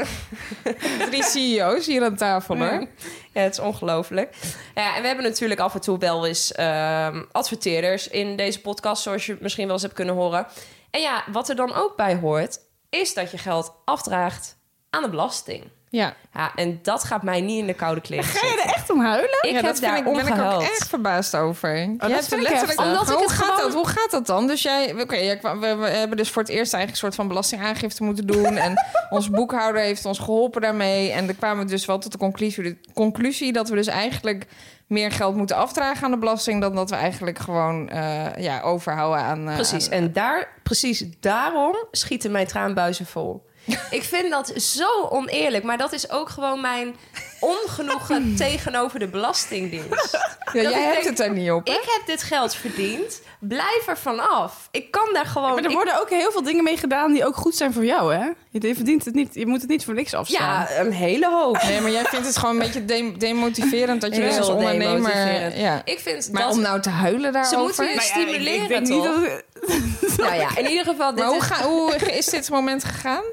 H: E
G: Drie CEO's hier aan tafel, hoor.
H: ja, het is ongelooflijk. Nou Ja, en we hebben natuurlijk af en toe wel eens ehm, adverteerders in deze podcast, zoals je misschien wel eens hebt kunnen horen. En ja, wat er dan ook bij hoort, is dat je geld afdraagt aan de belasting.
G: Ja.
H: Ja, en dat gaat mij niet in de koude kleren
I: Ga je er echt om huilen?
H: Ik
G: ja,
H: heb
G: dat
H: daar Oh,
G: vind ik, ben ik ook
H: omgehuild.
G: echt verbaasd over. Je
I: dat vind
G: er
I: ik heftig.
G: Omdat
I: Omdat ik
G: hoe,
I: het
G: gaat
I: gewoon-
G: dat, hoe gaat dat dan? Dus jij, oké, jij kwam- we, we hebben dus voor het eerst eigenlijk een soort van belastingaangifte moeten doen. en
H: (laughs)
G: ons boekhouder heeft ons geholpen daarmee. En dan kwamen we dus wel tot de conclusie, de conclusie dat we dus eigenlijk meer geld moeten afdragen aan de belasting. dan dat we eigenlijk gewoon eh, ja, overhouden aan. eh,
H: Precies,
G: aan-
H: en daar, precies daarom schieten mijn traanbuizen vol. Ik vind dat zo oneerlijk, maar dat is ook gewoon mijn ongenoegen tegenover de Belastingdienst.
G: Ja, jij
H: dat ik
G: hebt
H: denk-
G: het daar niet op. hè?
H: Ik heb dit geld verdiend, blijf er vanaf. Ik kan daar gewoon.
I: Maar er
H: ik-
I: worden ook heel veel dingen mee gedaan die ook goed zijn voor jou, hè? Je verdient het niet, je moet het niet voor niks afstaan.
H: ja, een hele hoop.
G: Nee, maar jij vindt het gewoon een beetje de- demotiverend
H: (laughs)
G: dat je
H: Heel
G: dus als ondernemer.
H: demotiverend.
G: Ja.
H: Ik vind
G: Maar
H: dat.
G: om nou te huilen daarover.
H: ze moeten je
I: Nou ja,
H: stimuleren,
I: ik denk niet
H: toch?
I: dat-
H: Nou ja, in ieder geval. Dit
G: Maar hoe,
H: is-
G: ga, hoe (laughs) is dit moment gegaan?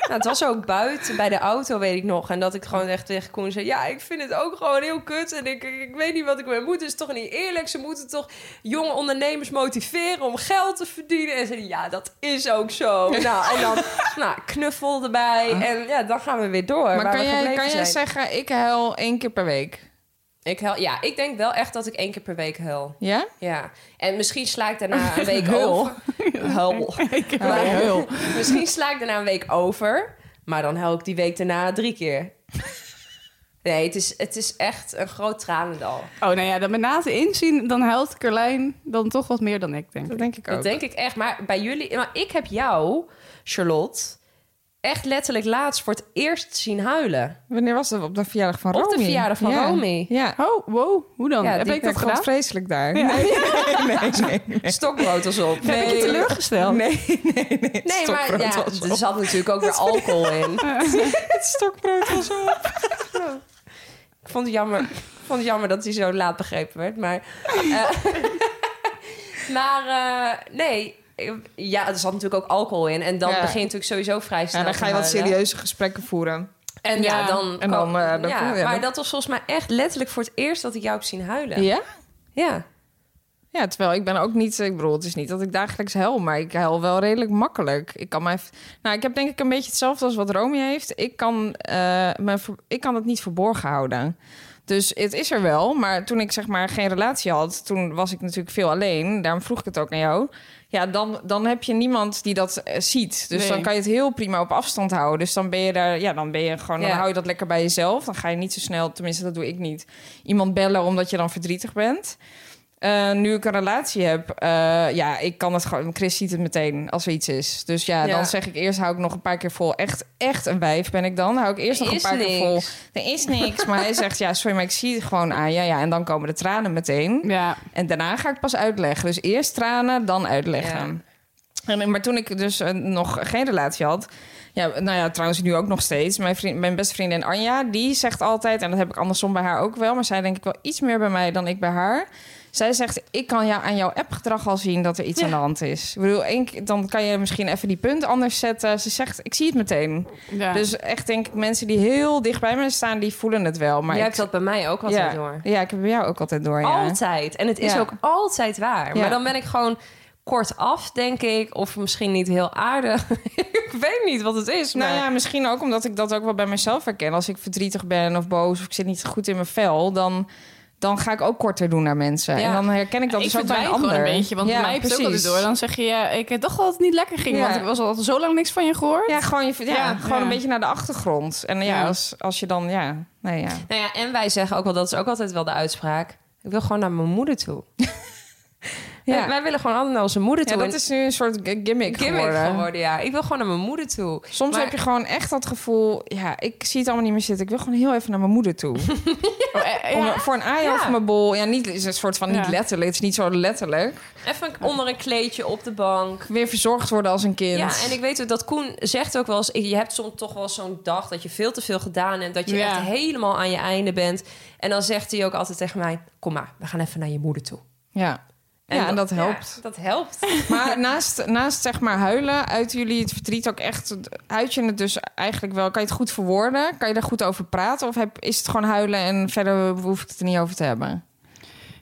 H: Nou, het was ook buiten bij de auto, weet ik nog. En dat ik gewoon echt tegen Koen zei: Ja, ik vind het ook gewoon heel kut. En ik, ik, ik weet niet wat ik mee moet. Het is toch niet eerlijk. Ze moeten toch jonge ondernemers motiveren om geld te verdienen. En ze zei: Ja, dat is ook
G: (laughs)
H: zo. nou, en dan nou, knuffel erbij. En ja, dan gaan we weer door.
G: Maar
H: waar
G: kan
H: we
G: jij,
H: gebleven
G: kan jij
H: zijn.
G: zeggen, ik huil één keer per week?
H: Ik huil, ja, ik denk wel echt dat ik één keer per week huil.
G: Ja?
H: Ja, en misschien sla
G: (laughs)
H: ik daarna een week over. Huil. Maar- (laughs) Misschien sla ik daarna een week over, maar dan huil ik die week daarna drie keer. Nee, het is, het is echt een groot tranendal.
I: Oh, nou ja, dan met na te inzien, dan huilt Carlijn dan toch wat meer dan ik, denk ik.
G: Dat denk ik ook.
H: Dat denk ik echt. Maar bij jullie, maar ik heb jou, Charlotte, echt letterlijk laatst voor het eerst zien (laughs) huilen.
G: Wanneer was dat? Op de verjaardag van
H: Op de
G: Romy.
H: verjaardag van
G: ja.
H: Romy.
G: Ja.
I: Oh, wow. Hoe dan?
H: Ja,
I: Heb
H: die
I: ik dat
G: vond het
I: gedaan?
G: vreselijk daar. Nee, (laughs) nee,
H: (laughs)
G: nee. nee.
H: Stokbrood was op.
G: Nee.
I: Heb ik je teleurgesteld?
G: Nee, nee, nee. Het
H: Nee, maar
G: stokbrood
H: ja,
G: was
H: er
G: op.
H: zat natuurlijk (laughs) ook weer alcohol in.
G: Het stokbrood was op.
H: Ik vond het jammer, ik vond het jammer dat hij zo laat begrepen werd. Maar, eh, (laughs) maar eh, nee, ja, er zat natuurlijk ook alcohol in. En dan
G: Ja.
H: begint natuurlijk sowieso vrij snel
G: Ja, dan
H: te
G: ga je wat
H: huilen.
G: serieuze gesprekken voeren.
H: En ja, dan...
G: En dan, eh, dan-
H: ja,
G: ja,
H: maar
G: dan-
H: dat was volgens mij echt letterlijk voor het eerst dat ik jou heb zien huilen.
G: Ja?
H: Ja.
G: Ja, terwijl ik ben ook niet... Ik bedoel, het is niet dat ik dagelijks huil, maar ik huil wel redelijk makkelijk. Ik kan mij... Nou, ik heb denk ik een beetje hetzelfde als wat Romy heeft. Ik kan, eh, mijn, ver- ik kan het niet verborgen houden. Dus het is er wel, maar toen ik zeg maar geen relatie had... toen was ik natuurlijk veel alleen. Daarom vroeg ik het ook aan jou. Ja, dan, dan heb je niemand die dat eh, ziet. Dus
I: Nee.
G: dan kan je het heel prima op afstand houden. Dus dan ben je daar... Ja, dan ben je gewoon...
H: Ja.
G: Dan hou je dat lekker bij jezelf. Dan ga je niet zo snel... Tenminste, dat doe ik niet. Iemand bellen omdat je dan verdrietig bent. Eh, nu ik een relatie heb, eh, ja, ik kan het gewoon. Chris ziet het meteen als er iets is. Dus ja,
H: Ja.
G: dan zeg ik eerst hou ik nog een paar keer vol. Echt, echt een wijf ben ik dan. Hou ik eerst
H: Er
G: nog een
H: is
G: paar keer vol.
H: niks.
G: Er is niks. maar hij zegt ja, sorry, maar ik zie het gewoon aan. Ja, ja. En dan komen de tranen meteen.
I: Ja.
G: En daarna ga ik pas uitleggen. Dus eerst tranen, dan uitleggen. En, maar toen ik dus eh, nog geen relatie had. Ja, nou ja, trouwens nu ook nog steeds. Mijn, vriend, mijn beste vriendin Anja, die zegt altijd... en dat heb ik andersom bij haar ook wel... maar zij denk ik wel iets meer bij mij dan ik bij haar. Zij zegt, ik kan jou, aan jouw appgedrag al zien dat er iets aan de hand is. Ik bedoel, één keer- dan kan je misschien even die punt anders zetten. Ze zegt, ik zie het meteen.
I: ja.
G: Dus echt denk ik, mensen die heel dicht bij me staan... die voelen het wel. Maar
H: Jij
G: ik,
H: hebt dat bij mij ook altijd
G: ja,
H: door.
G: Ja, ik heb bij jou ook altijd door, ja.
H: Altijd. En het is
G: Ja.
H: ook altijd waar.
G: Ja.
H: Maar dan ben ik gewoon kortaf, denk ik. Of misschien niet heel aardig. (laughs) ik weet niet wat het is. Maar...
G: Nou ja, misschien ook omdat ik dat ook wel bij mezelf herken. Als ik verdrietig ben of boos of ik zit niet goed in mijn vel, dan, dan ga ik ook korter doen naar mensen.
H: Ja.
G: En dan herken ik dat
I: ik
G: dus ook bij een
I: verdwijn gewoon
G: ander.
I: een beetje, want
G: Ja,
I: mij heeft het ook
G: precies.
I: altijd door. Dan zeg je, ja, ik heb toch wel dat het niet lekker ging,
G: Ja.
I: want ik was al zo lang niks van je gehoord.
G: Ja, gewoon, je, ja,
I: Ja,
G: gewoon
I: ja.
G: een beetje naar de achtergrond. En ja,
I: Ja.
G: Als, als je dan, ja, nee, ja.
H: Nou ja, en wij zeggen ook wel, dat is ook altijd wel de uitspraak. Ik wil gewoon naar mijn moeder toe.
G: Ja.
H: Wij, wij willen gewoon altijd naar onze moeder
G: Ja,
H: toe.
G: dat is nu een soort g- gimmick,
H: een gimmick
G: geworden.
H: geworden. ja. Ik wil gewoon naar mijn moeder toe.
G: Soms
H: Maar-
G: heb je gewoon echt dat gevoel, ja, ik zie het allemaal niet meer zitten. Ik wil gewoon heel even naar mijn moeder toe.
I: Oh, eh, eh,
G: Om-
I: (laughs) ja.
G: voor een aai
H: Ja.
G: of mijn bol. Ja, niet, is een soort van niet
I: Ja.
G: letterlijk. Het is niet zo letterlijk.
H: Even onder een kleedje op de bank.
G: Weer verzorgd worden als een kind.
H: Ja, en ik weet ook dat Koen zegt ook wel eens... je hebt soms toch wel zo'n dag dat je veel te veel gedaan hebt... dat je
I: Ja.
H: echt helemaal aan je einde bent. En dan zegt hij ook altijd tegen mij... kom maar, we gaan even naar je moeder toe.
G: Ja. ja, en dat helpt.
H: ja, dat helpt.
G: (laughs) Maar naast, naast zeg maar huilen, uiten jullie het verdriet ook echt? Uit je het dus eigenlijk wel? Kan je het goed verwoorden? Kan je daar goed over praten? Of heb, is het gewoon huilen en verder hoef ik het er niet over te hebben?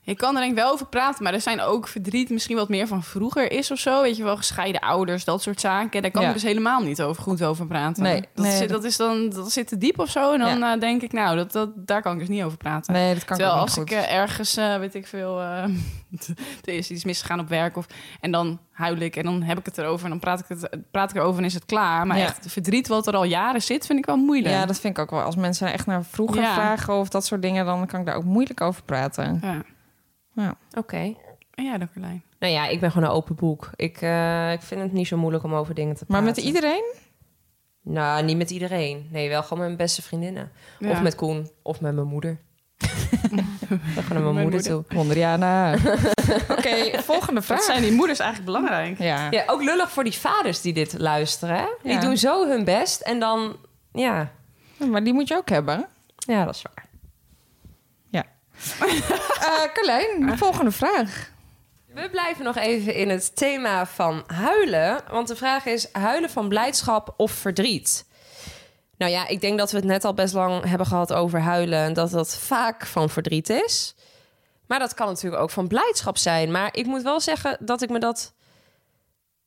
I: Je kan er denk ik wel over praten, maar er zijn ook verdriet misschien wat meer van vroeger is of zo. Weet je wel, gescheiden ouders, dat soort zaken. Daar kan
G: Ja.
I: je dus helemaal niet over, goed over praten.
G: Nee,
I: dat,
G: nee,
I: zit,
G: dat-
I: dat, is dan, dat zit te diep of zo. En dan eh, denk ik, nou, dat, dat, daar kan ik dus niet over praten.
G: Nee, dat kan
I: Terwijl
G: ik ook
I: als
G: niet
I: ik
G: goed.
I: eh, ergens, eh, weet ik veel, eh, (laughs) er is iets misgegaan op werk. Of, en dan huil ik en dan heb ik het erover en dan praat ik, het, praat ik erover en is het klaar. Maar
G: Ja.
I: echt, het verdriet wat er al jaren zit, vind ik wel moeilijk.
G: Ja, dat vind ik ook wel. Als mensen echt naar vroeger
I: Ja.
G: vragen of dat soort dingen, dan kan ik daar ook moeilijk over praten.
I: ja.
H: (laughs)
I: Oh
H: Oké.
I: En jij dan, Carlijn?
H: Nou ja, ik ben gewoon een open boek. Ik, eh, ik vind het niet zo moeilijk om over dingen te
G: Maar
H: praten.
G: met iedereen? (laughs)
H: Nou, niet met iedereen. Nee, wel gewoon met mijn beste vriendinnen.
I: Ja.
H: Of met Koen. Of met mijn moeder. We gaan naar mijn, moeder, toe.
G: Mondriana. Oké, Eh, volgende
I: Wat
G: vraag.
I: zijn die moeders eigenlijk belangrijk?
G: Ja.
H: Ja, ook lullig voor die vaders die dit luisteren. Hè? Die
G: Ja.
H: doen zo hun best en dan... Ja,
G: maar die moet je ook hebben.
H: ja dat is waar.
G: Eh Carlijn, volgende vraag.
H: We blijven nog even in het thema van huilen. Want de vraag is: huilen van blijdschap of verdriet? Nou ja, ik denk dat we het net al best lang hebben gehad over huilen. En dat dat vaak van verdriet is. Maar dat kan natuurlijk ook van blijdschap zijn. Maar ik moet wel zeggen dat ik me dat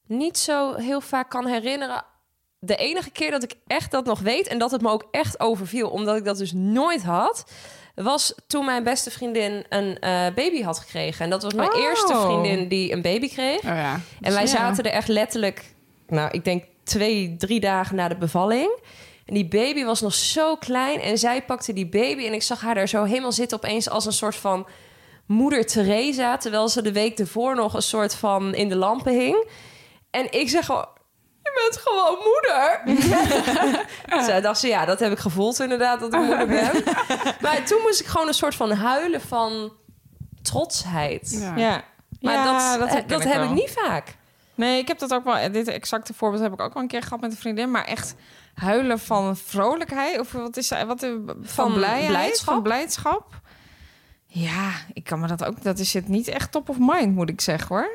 H: niet zo heel vaak kan herinneren. De enige keer dat ik echt dat nog weet en dat het me ook echt overviel, omdat ik dat dus nooit had, was toen mijn beste vriendin een eh, baby had gekregen. En dat was mijn
G: Oh.
H: eerste vriendin die een baby kreeg.
I: Oh ja.
H: En wij
G: Ja.
H: zaten er echt letterlijk, nou, ik denk twee, drie dagen na de bevalling. En die baby was nog zo klein. En zij pakte die baby. En ik zag haar daar zo helemaal zitten, opeens als een soort van moeder Teresa. Terwijl ze de week ervoor nog een soort van in de lampen hing. En ik zeg gewoon. Je bent gewoon
G: (laughs)
H: moeder. Zij dacht ze, ja, dat heb ik gevoeld inderdaad, dat ik moeder
G: (laughs)
H: ben. maar toen moest ik gewoon een soort van huilen van trotsheid.
G: Ja.
H: Maar
G: Ja,
H: dat, eh, dat,
G: herken
H: heb
G: wel.
H: ik niet vaak.
G: Nee, ik heb dat ook wel. eh, Dit exacte voorbeeld heb ik ook al een keer gehad met een vriendin. Maar echt huilen van vrolijkheid. Of wat is wat, eh, van,
H: Van
G: van blijheid?
H: blijdschap?
G: Van blijdschap. Ja, ik kan me dat ook. Dat is het niet echt top of mind, moet ik zeggen hoor.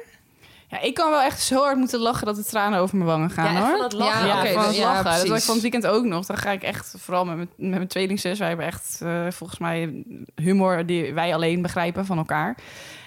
I: Ja, ik kan wel echt zo hard moeten lachen dat de tranen over mijn wangen gaan,
H: Ja, echt
I: hoor.
H: van het lachen.
I: Ja,
G: oké,
I: van het
G: dus- ja,
I: lachen. dat was
G: precies.
I: ik van het weekend ook nog. Dan ga ik echt, vooral met, mijn- met mijn tweelingzus... wij hebben echt eh, volgens mij humor die wij alleen begrijpen van elkaar.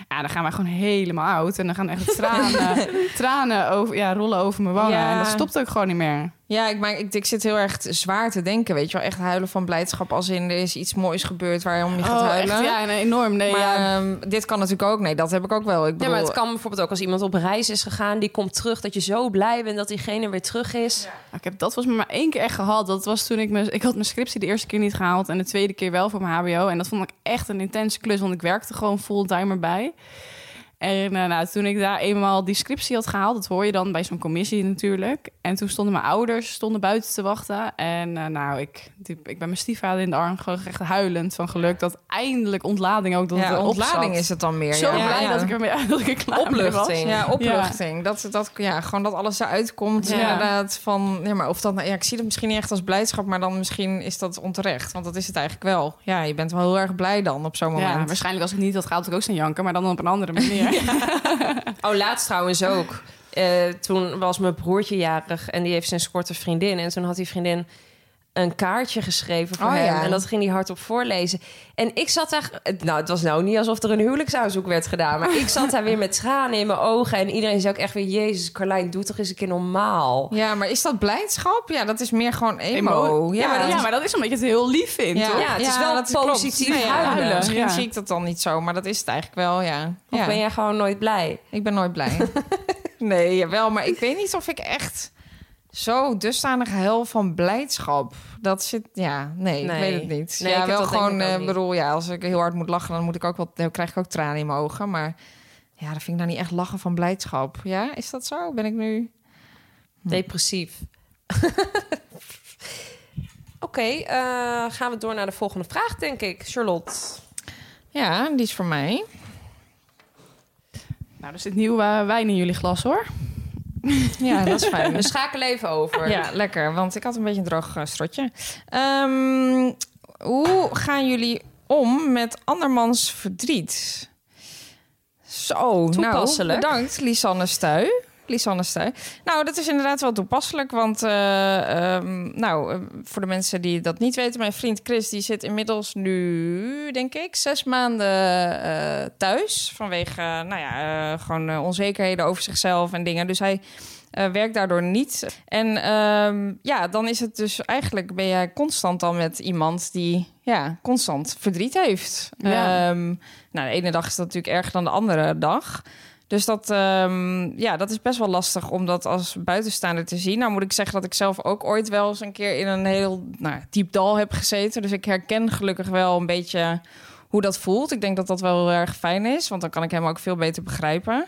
I: Ja, dan gaan wij gewoon helemaal oud. En dan gaan echt
G: (laughs)
I: tranen, tranen over, ja, rollen over mijn wangen.
G: Ja.
I: En dat stopt ook gewoon niet meer.
G: Ja, ik, maar ik, ik zit heel erg zwaar te denken. Weet je wel, echt huilen van blijdschap. Als in er is iets moois gebeurd waarom je gaat
I: Oh, echt,
G: huilen.
I: ja, nee, enorm. Nee,
G: Maar
I: ja.
G: ehm, dit kan natuurlijk ook. Nee, dat heb ik ook wel. Ik
H: Ja,
G: bedoel,
H: maar het kan bijvoorbeeld ook als iemand op reis is gegaan, die komt terug, dat je zo blij bent dat diegene weer terug is.
I: Nou, Ik heb dat was maar één keer echt gehad. Dat was toen ik mijn, ik had mijn scriptie de eerste keer niet gehaald en de tweede keer wel voor mijn HBO. En dat vond ik echt een intense klus, want ik werkte gewoon fulltime bij. En eh, nou, toen ik daar eenmaal die scriptie had gehaald, dat hoor je dan bij zo'n commissie natuurlijk. En toen stonden mijn ouders stonden buiten te wachten. En eh, nou, ik, die- ik ben mijn stiefvader in de arm gewoon echt huilend van geluk dat eindelijk ontlading ook dat
G: ja,
I: het erop
G: ontlading
I: zat.
G: is het dan meer.
I: Zo
G: ja.
I: blij
G: Ja.
I: dat ik ermee dat ik er klaar mee (laughs) was.
H: Opluchting.
G: Ja, opluchting. Dat, dat, ja, gewoon dat alles eruit komt.
I: Ja.
G: Inderdaad, van, ja, maar of dat, nou- ja, ik zie dat misschien niet echt als blijdschap, maar dan misschien is dat onterecht. Want dat is het eigenlijk wel. Ja, je bent wel heel erg blij dan op zo'n
I: Ja,
G: moment.
I: waarschijnlijk als ik niet had gehaald, had ik ook staan janken, maar dan op een
G: (laughs)
I: andere manier.
H: Oh, laatst trouwens ook. Eh, toen was mijn broertje jarig en die heeft sinds kort een vriendin. En toen had die vriendin een kaartje geschreven voor
G: Oh,
H: hem.
G: ja.
H: En dat ging hij hardop voorlezen. En ik zat daar... eh, Nou, het was nou niet alsof er een huwelijksaanzoek werd gedaan. Maar ik zat daar weer met tranen in mijn ogen. En iedereen zei ook echt weer... Jezus, Carlijn, doe toch eens een keer normaal.
G: Ja, maar is dat blijdschap? Ja, dat is meer gewoon emo.
I: Emo-
G: Ja,
I: Ja, maar, ja, maar dat is omdat je het heel lief vindt,
G: Ja,
I: toch?
H: Ja, het is
G: ja,
H: wel
G: dat klopt.
H: positief
G: Nee, ja,
H: huilen.
I: huilen.
G: Misschien
I: Ja.
G: zie ik dat dan niet zo, maar dat is het eigenlijk wel, ja.
H: Of
G: ja.
H: ben jij gewoon nooit blij?
G: Ik ben nooit blij. (laughs) nee, jawel, maar ik weet niet of ik echt zo dusdanig hel van blijdschap. Dat zit, ja, nee,
H: Nee.
G: ik weet het niet.
H: Nee, ik
G: ja,
H: heb
G: wel
H: dat denk
G: gewoon,
H: ik ook
G: eh,
H: niet.
G: bedoel, ja, als ik heel hard moet lachen, dan moet ik ook wat, dan krijg ik ook tranen in mijn ogen. Maar ja, dat vind ik nou niet echt lachen van blijdschap. Ja, is dat zo? Ben ik nu?
A: Hm.
H: Depressief. Oké, eh, gaan we door naar de volgende vraag, denk ik. Charlotte.
G: Ja, die is voor mij.
I: Nou, er zit nieuw eh, wijn in jullie glas, hoor.
G: Ja, dat is fijn.
H: We schakelen even over.
G: Ja, lekker. Want ik had een beetje een droog eh, strotje. Ehm, hoe gaan jullie om met andermans verdriet? Zo,
H: Toepasselijk.
G: Nou, bedankt, Lisanne Stuy. Lisanne Stuy. Nou, dat is inderdaad wel toepasselijk. Want eh, ehm, nou, eh, voor de mensen die dat niet weten... mijn vriend Chris die zit inmiddels nu, denk ik... zes maanden eh, thuis. Vanwege eh, nou ja, eh, gewoon eh, onzekerheden over zichzelf en dingen. Dus hij eh, werkt daardoor niet. En ehm, ja, dan is het dus eigenlijk... ben jij constant dan met iemand die ja, constant verdriet heeft.
I: Ja.
G: Ehm, nou, de ene dag is dat natuurlijk erger dan de andere dag... Dus dat, ehm, ja, dat is best wel lastig om dat als buitenstaander te zien. Nou moet ik zeggen dat ik zelf ook ooit wel eens een keer in een heel nou, diep dal heb gezeten. Dus ik herken gelukkig wel een beetje hoe dat voelt. Ik denk dat dat wel heel erg fijn is, want dan kan ik hem ook veel beter begrijpen.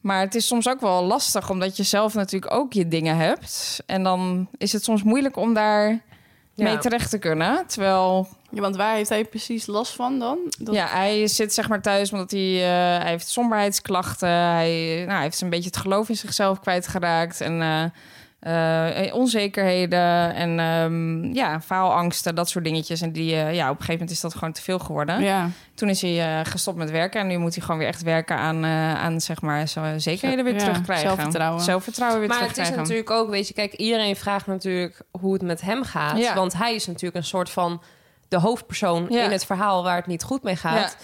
G: Maar het is soms ook wel lastig, omdat je zelf natuurlijk ook je dingen hebt. En dan is het soms moeilijk om daar mee terecht te kunnen. Terwijl
I: Ja, want waar heeft hij precies last van dan? Dat-
G: ja, hij zit zeg maar thuis omdat hij, eh, hij heeft somberheidsklachten. Hij, eh, nou, hij heeft een beetje het geloof in zichzelf kwijtgeraakt. En eh, eh, onzekerheden en ehm, ja, faalangsten, dat soort dingetjes. En die, eh, ja, op een gegeven moment is dat gewoon te veel geworden.
I: Ja.
G: Toen is hij eh, gestopt met werken en nu moet hij gewoon weer echt werken aan, eh, aan zeg maar, zijn zekerheden weer
I: Ja,
G: terugkrijgen.
I: zelfvertrouwen.
G: Zelfvertrouwen weer
H: Maar het is
G: terugkrijgen.
H: natuurlijk ook, weet je, kijk, iedereen vraagt natuurlijk hoe het met hem gaat.
G: Ja.
H: Want hij is natuurlijk een soort van de hoofdpersoon
G: Ja.
H: in het verhaal waar het niet goed mee gaat.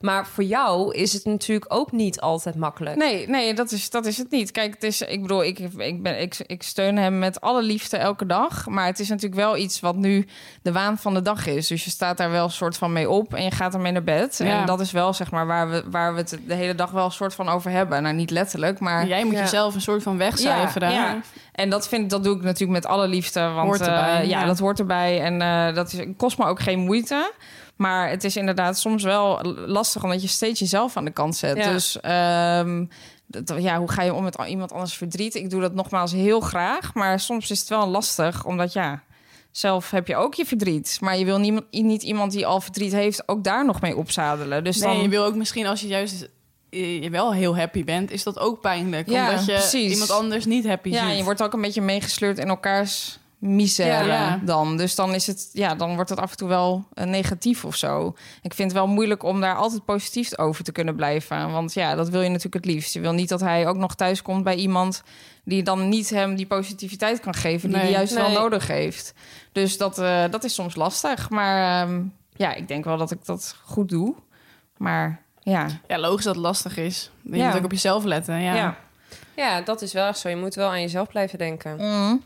H: Maar voor jou is het natuurlijk ook niet altijd makkelijk.
G: Nee, nee dat, is, dat is het niet. Kijk, het is, ik bedoel, ik, ik, ben, ik, ik steun hem met alle liefde elke dag. Maar het is natuurlijk wel iets wat nu de waan van de dag is. Dus je staat daar wel een soort van mee op en je gaat ermee naar bed.
I: Ja.
G: En dat is wel zeg maar waar we, waar we het de hele dag wel een soort van over hebben. Nou, niet letterlijk, maar.
I: Jij moet
G: Ja.
I: jezelf een soort van wegcijferen. Dus
G: Ja, ja. En dat, vind, dat doe ik natuurlijk met alle liefde. Want
I: Hoort erbij,
G: eh, ja,
I: ja.
G: dat hoort erbij. En eh, dat is, kost me ook geen moeite. Maar het is inderdaad soms wel lastig omdat je steeds jezelf aan de kant zet.
H: Ja.
G: Dus ehm, dat- ja, hoe ga je om met al- iemand anders verdriet? Ik doe dat nogmaals heel graag, maar soms is het wel lastig, omdat ja, zelf heb je ook je verdriet. Maar je wil niemand, niet iemand die al verdriet heeft ook daar nog mee opzadelen. Dus
I: nee,
G: dan
I: je wil ook misschien als je juist eh, je wel heel happy bent, is dat ook pijnlijk.
G: Ja,
I: omdat je
G: precies.
I: iemand anders niet happy
G: Ja, en
I: ziet.
G: je wordt ook een beetje meegesleurd in elkaars misère
I: Ja, ja.
G: dan. Dus dan is het, ja, dan wordt het af en toe wel eh, negatief of zo. Ik vind het wel moeilijk om daar altijd positief over te kunnen blijven. Want ja, dat wil je natuurlijk het liefst. Je wil niet dat hij ook nog thuis komt bij iemand die dan niet hem die positiviteit kan geven, die
I: Nee.
G: hij juist
H: Nee.
G: wel nodig heeft. Dus dat, eh, dat is soms lastig. Maar ehm, ja, ik denk wel dat ik dat goed doe. Maar ja,
I: Ja, logisch dat het lastig is. Je
G: Ja.
I: moet ook op jezelf letten. Ja.
G: ja.
H: Ja, dat is wel echt zo. Je moet wel aan jezelf blijven denken.
G: Mm.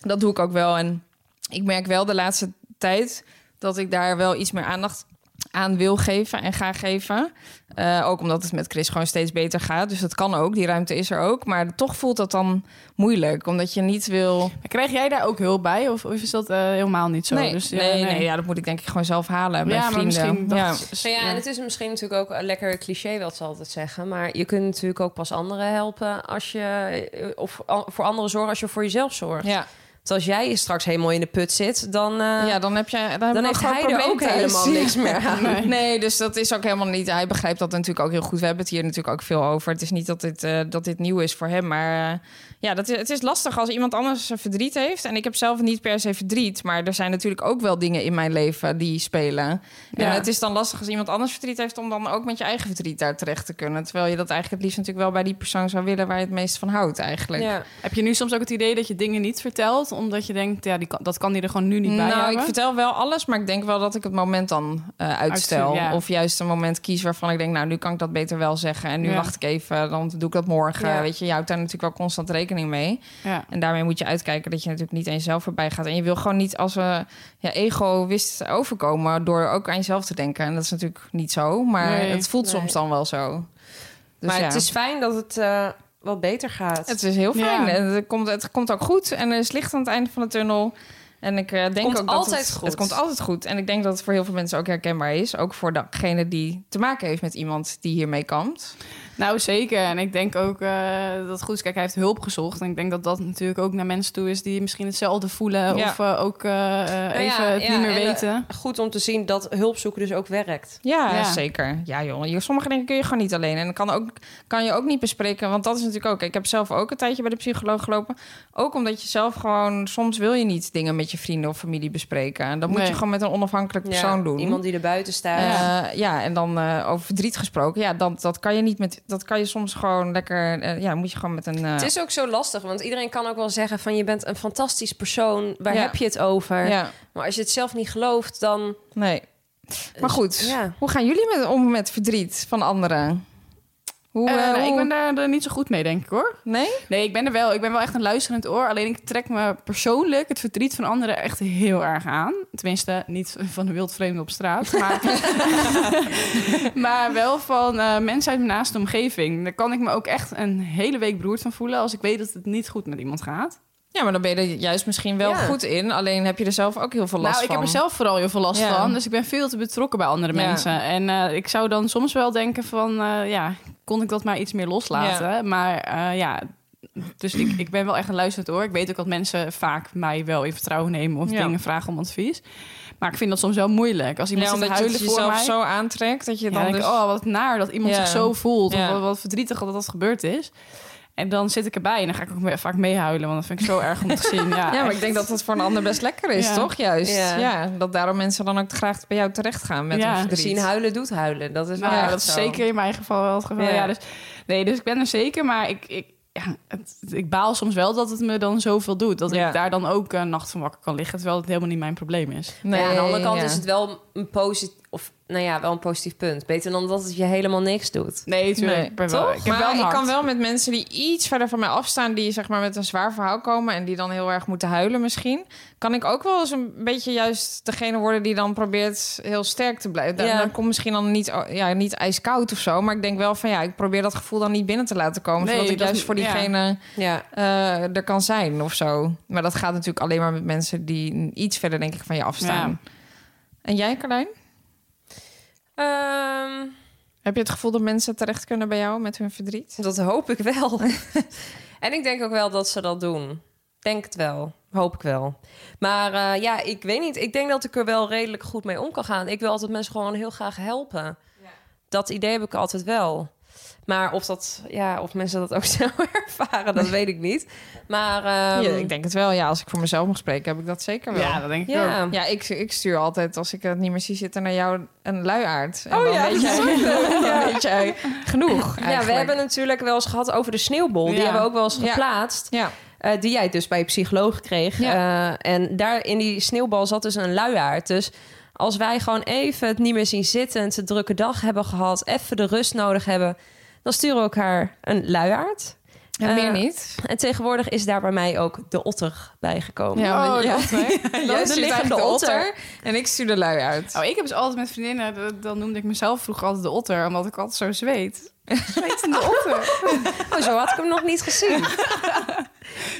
G: Dat doe ik ook wel. En ik merk wel de laatste tijd dat ik daar wel iets meer aandacht aan wil geven en ga geven. Eh, ook omdat het met Chris gewoon steeds beter gaat. Dus dat kan ook, die ruimte is er ook. Maar toch voelt dat dan moeilijk, omdat je niet wil...
I: Maar Krijg jij daar ook hulp bij? Of, of is dat eh, helemaal niet zo?
G: nee,
I: Dus, ja,
G: nee, nee. ja, dat moet ik denk ik gewoon zelf halen bij
I: Ja, maar
G: vrienden.
I: misschien
G: ja.
I: dat- s-
H: Nou ja, en het is misschien natuurlijk ook een lekker cliché wat ze altijd zeggen. Maar je kunt natuurlijk ook pas anderen helpen als je. eh, Of a- voor anderen zorgen als je voor jezelf zorgt.
G: Ja.
H: Want als jij straks helemaal in de put zit, dan. eh,
G: ja, dan heb je dan,
H: Dan
G: hebben we
H: heeft
G: gewoon
H: hij
G: een
H: er
G: probleem
H: ook
G: thuis. (laughs)
H: helemaal
G: Ja.
H: niks meer aan.
G: Nee. dus dat is ook helemaal niet. Hij begrijpt dat natuurlijk ook heel goed. We hebben het hier natuurlijk ook veel over. Het is niet dat dit, eh, dat dit nieuw is voor hem. Maar eh, ja, dat is, het is lastig als iemand anders eh, verdriet heeft. En ik heb zelf niet per se verdriet. Maar er zijn natuurlijk ook wel dingen in mijn leven die spelen. En
I: Ja.
G: het is dan lastig als iemand anders verdriet heeft... om dan ook met je eigen verdriet daar terecht te kunnen. Terwijl je dat eigenlijk het liefst natuurlijk wel bij die persoon zou willen... waar je het meest van houdt eigenlijk.
H: Ja.
I: Heb je nu soms ook het idee dat je dingen niet vertelt? Omdat je denkt, ja, die kan, dat kan die er gewoon nu niet bij
G: nou,
I: hebben?
G: ik vertel wel alles, maar ik denk wel dat ik het moment dan eh, uitstel.
I: Uitstel, ja.
G: Of juist een moment kies waarvan ik denk, nou, nu kan ik dat beter wel zeggen. En nu
I: Ja.
G: wacht ik even, dan doe ik dat morgen.
H: Ja.
G: Weet je, je houdt daar natuurlijk wel constant rekening mee.
I: ja.
G: En daarmee moet je uitkijken dat je natuurlijk niet eens zelf voorbij gaat. En je wil gewoon niet als eh ja, egoïst overkomen door ook aan jezelf te denken. En dat is natuurlijk niet zo, maar
I: Nee.
G: het voelt
H: Nee.
G: soms dan wel zo. Dus
H: maar
G: ja.
H: het is fijn dat het eh, wat beter gaat.
G: Het is heel fijn.
I: Ja.
G: En het, komt, het komt ook goed. En er is licht aan het einde van de tunnel. En ik eh, denk
H: komt
G: ook dat
H: altijd
G: het,
H: goed.
G: het komt altijd goed. En ik denk dat het voor heel veel mensen ook herkenbaar is. Ook voor degene die te maken heeft met iemand die hiermee kampt.
I: Nou, zeker. En ik denk ook eh, dat het goed is. Kijk, hij heeft hulp gezocht. En ik denk dat dat natuurlijk ook naar mensen toe is die misschien hetzelfde voelen.
G: Ja.
I: Of eh, ook eh, eh,
H: Nou ja,
I: even het
H: ja,
I: niet
H: en,
I: meer
H: eh,
I: weten.
H: Goed om te zien dat hulp zoeken dus ook werkt.
G: Ja,
I: Ja.
G: zeker. Ja, joh. Je- Sommige dingen kun je gewoon niet alleen. En dan kan, ook, kan je ook niet bespreken. Want dat is natuurlijk ook. Ik heb zelf ook een tijdje bij de psycholoog gelopen. Ook omdat je zelf gewoon. Soms wil je niet dingen met je vrienden of familie bespreken. En dat moet
I: Nee.
G: je gewoon met een onafhankelijk persoon
H: Ja,
G: doen.
H: Iemand die er buiten staat.
G: Ja, ja en dan eh, over verdriet gesproken. Ja, dat, dat kan je niet met. Dat kan je soms gewoon lekker. eh, ja, moet je gewoon met een. eh,
H: Het is ook zo lastig, want iedereen kan ook wel zeggen van je bent een fantastisch persoon. Waar
G: Ja.
H: heb je het over?
G: ja,
H: Maar als je het zelf niet gelooft, dan
G: nee. Maar goed,
H: ja.
G: hoe gaan jullie met, om met verdriet van anderen? Hoe,
I: Eh,
G: eh,
I: nou, ik
G: hoe-
I: ben daar eh, niet zo goed mee, denk ik hoor.
G: Nee?
I: (laughs) Nee, ik ben er wel. Ik ben wel echt een luisterend oor. Alleen ik trek me persoonlijk het verdriet van anderen echt heel erg aan. Tenminste, niet van de wildvreemde op straat. Maar, (laughs) maar wel van eh, mensen uit mijn naaste omgeving. Daar kan ik me ook echt een hele week beroerd van voelen... als ik weet dat het niet goed met iemand gaat.
G: Ja, maar dan ben je er juist misschien wel
H: Ja.
G: goed in. Alleen heb je er zelf ook heel veel last
I: nou, ik
G: van.
I: heb er zelf vooral heel veel last
G: Ja.
I: van. Dus ik ben veel te betrokken bij andere
G: Ja.
I: mensen. En eh, ik zou dan soms wel denken van... eh, ja, kon ik dat maar iets meer loslaten? Maar eh, ja... Dus ik, ik ben wel echt een luisterend oor. Ik weet ook dat mensen vaak mij wel in vertrouwen nemen... of
G: Ja.
I: dingen vragen om advies. Maar ik vind dat soms wel moeilijk. Als iemand
G: Ja,
I: zit te
G: omdat je het
I: huilen voor
G: jezelf
I: mij...
G: zo aantrekt dat je
I: Ja,
G: dan.
I: dan denk
G: dus...
I: ik, oh, wat naar dat iemand
G: Ja.
I: zich zo voelt.
G: Ja.
I: Of wat, wat verdrietig dat dat gebeurd is. En dan zit ik erbij en dan ga ik ook me- vaak meehuilen. Want dat vind ik zo erg om te
G: (laughs)
I: zien. Ja,
G: Ja, maar ik denk dat dat voor een ander best lekker is,
I: Ja.
G: toch? Juist. Ja.
H: Ja.
G: dat daarom mensen dan ook graag bij jou terecht gaan met
I: Ja.
G: hun verdriet.
H: zien huilen doet huilen. Dat is wel
I: Nou, ja,
H: echt
I: dat is
H: zo.
I: zeker in mijn geval wel het geval. Ja.
H: Ja.
I: dus, nee, dus ik ben er zeker, maar ik, ik, ja, het- ik baal soms wel dat het me dan zoveel doet. Dat
G: Ja.
I: ik daar dan ook een nacht van wakker kan liggen, terwijl het helemaal niet mijn probleem is.
H: Maar ja, aan de andere kant
G: ja.
H: is het wel een positief of nou ja, wel een positief punt. Beter dan dat het je helemaal niks doet.
I: Nee,
G: tuurlijk.
I: tuurlijk.
G: Ik
I: Wel, ik heb
G: maar
I: wel een
G: ik
I: hart.
G: kan wel met mensen die iets verder van mij afstaan... die zeg maar met een zwaar verhaal komen... en die dan heel erg moeten huilen misschien... kan ik ook wel eens een beetje juist degene worden... die dan probeert heel sterk te blijven. Dan,
H: Ja.
G: dan komt misschien dan niet, oh, ja, niet ijskoud of zo... maar ik denk wel van ja, ik probeer dat gevoel dan niet binnen te laten komen...
I: Nee,
G: zodat ik
I: dat-
G: juist voor
I: ja.
G: diegene
H: Ja.
G: eh, er kan zijn of zo. Maar dat gaat natuurlijk alleen maar met mensen... die iets verder denk ik van je afstaan. En jij, Carlijn?
H: Ehm,
G: Heb je het gevoel dat mensen terecht kunnen bij jou met hun verdriet?
H: Dat hoop ik wel. en ik denk ook wel dat ze dat doen. Denk het wel. Hoop ik wel. Maar eh, ja, ik weet niet. Ik denk dat ik er wel redelijk goed mee om kan gaan. Ik wil altijd mensen gewoon heel graag helpen. Dat idee heb ik altijd wel. Maar of, dat, ja, of mensen dat ook (laughs) zo ervaren, dat weet ik niet. Maar ehm,
G: ja, ik denk het wel. Ja, als ik voor mezelf mag spreken, heb ik dat zeker wel.
I: Ja,
G: Ja,
I: dat denk ik ook.
H: ja.
G: ik, ik stuur altijd, als ik het niet meer zie zitten, naar jou een luiaard. En
H: Oh
G: dan
H: ja,
G: weet jij,
H: dat is
G: dan weet jij genoeg
H: ja, we
G: eigenlijk.
H: hebben natuurlijk wel eens gehad over de sneeuwbol. Die
I: Ja.
H: hebben we ook wel eens
G: Ja.
H: geplaatst.
G: Ja,
H: Eh, die jij dus bij je psycholoog kreeg. Eh, en daar in die sneeuwbal zat dus een luiaard. Dus als wij gewoon even het niet meer zien zitten... en te drukke dag hebben gehad, even de rust nodig hebben... dan sturen we elkaar een luiaard.
G: en
H: Eh,
G: meer niet.
H: En tegenwoordig is daar bij mij ook de otter bijgekomen.
G: Ja,
I: oh,
G: ja.
I: dat, dus hè?
G: Jij stuurt
H: liggende
G: eigenlijk de
H: otter.
G: otter en ik stuur de luiaard.
I: (laughs) Oh, ik heb dus altijd met vriendinnen, dat- dan noemde ik mezelf vroeger altijd de otter, omdat ik altijd zo zweet.
G: (laughs)
I: Zwetende otter.
H: Oh, zo had ik hem nog niet gezien.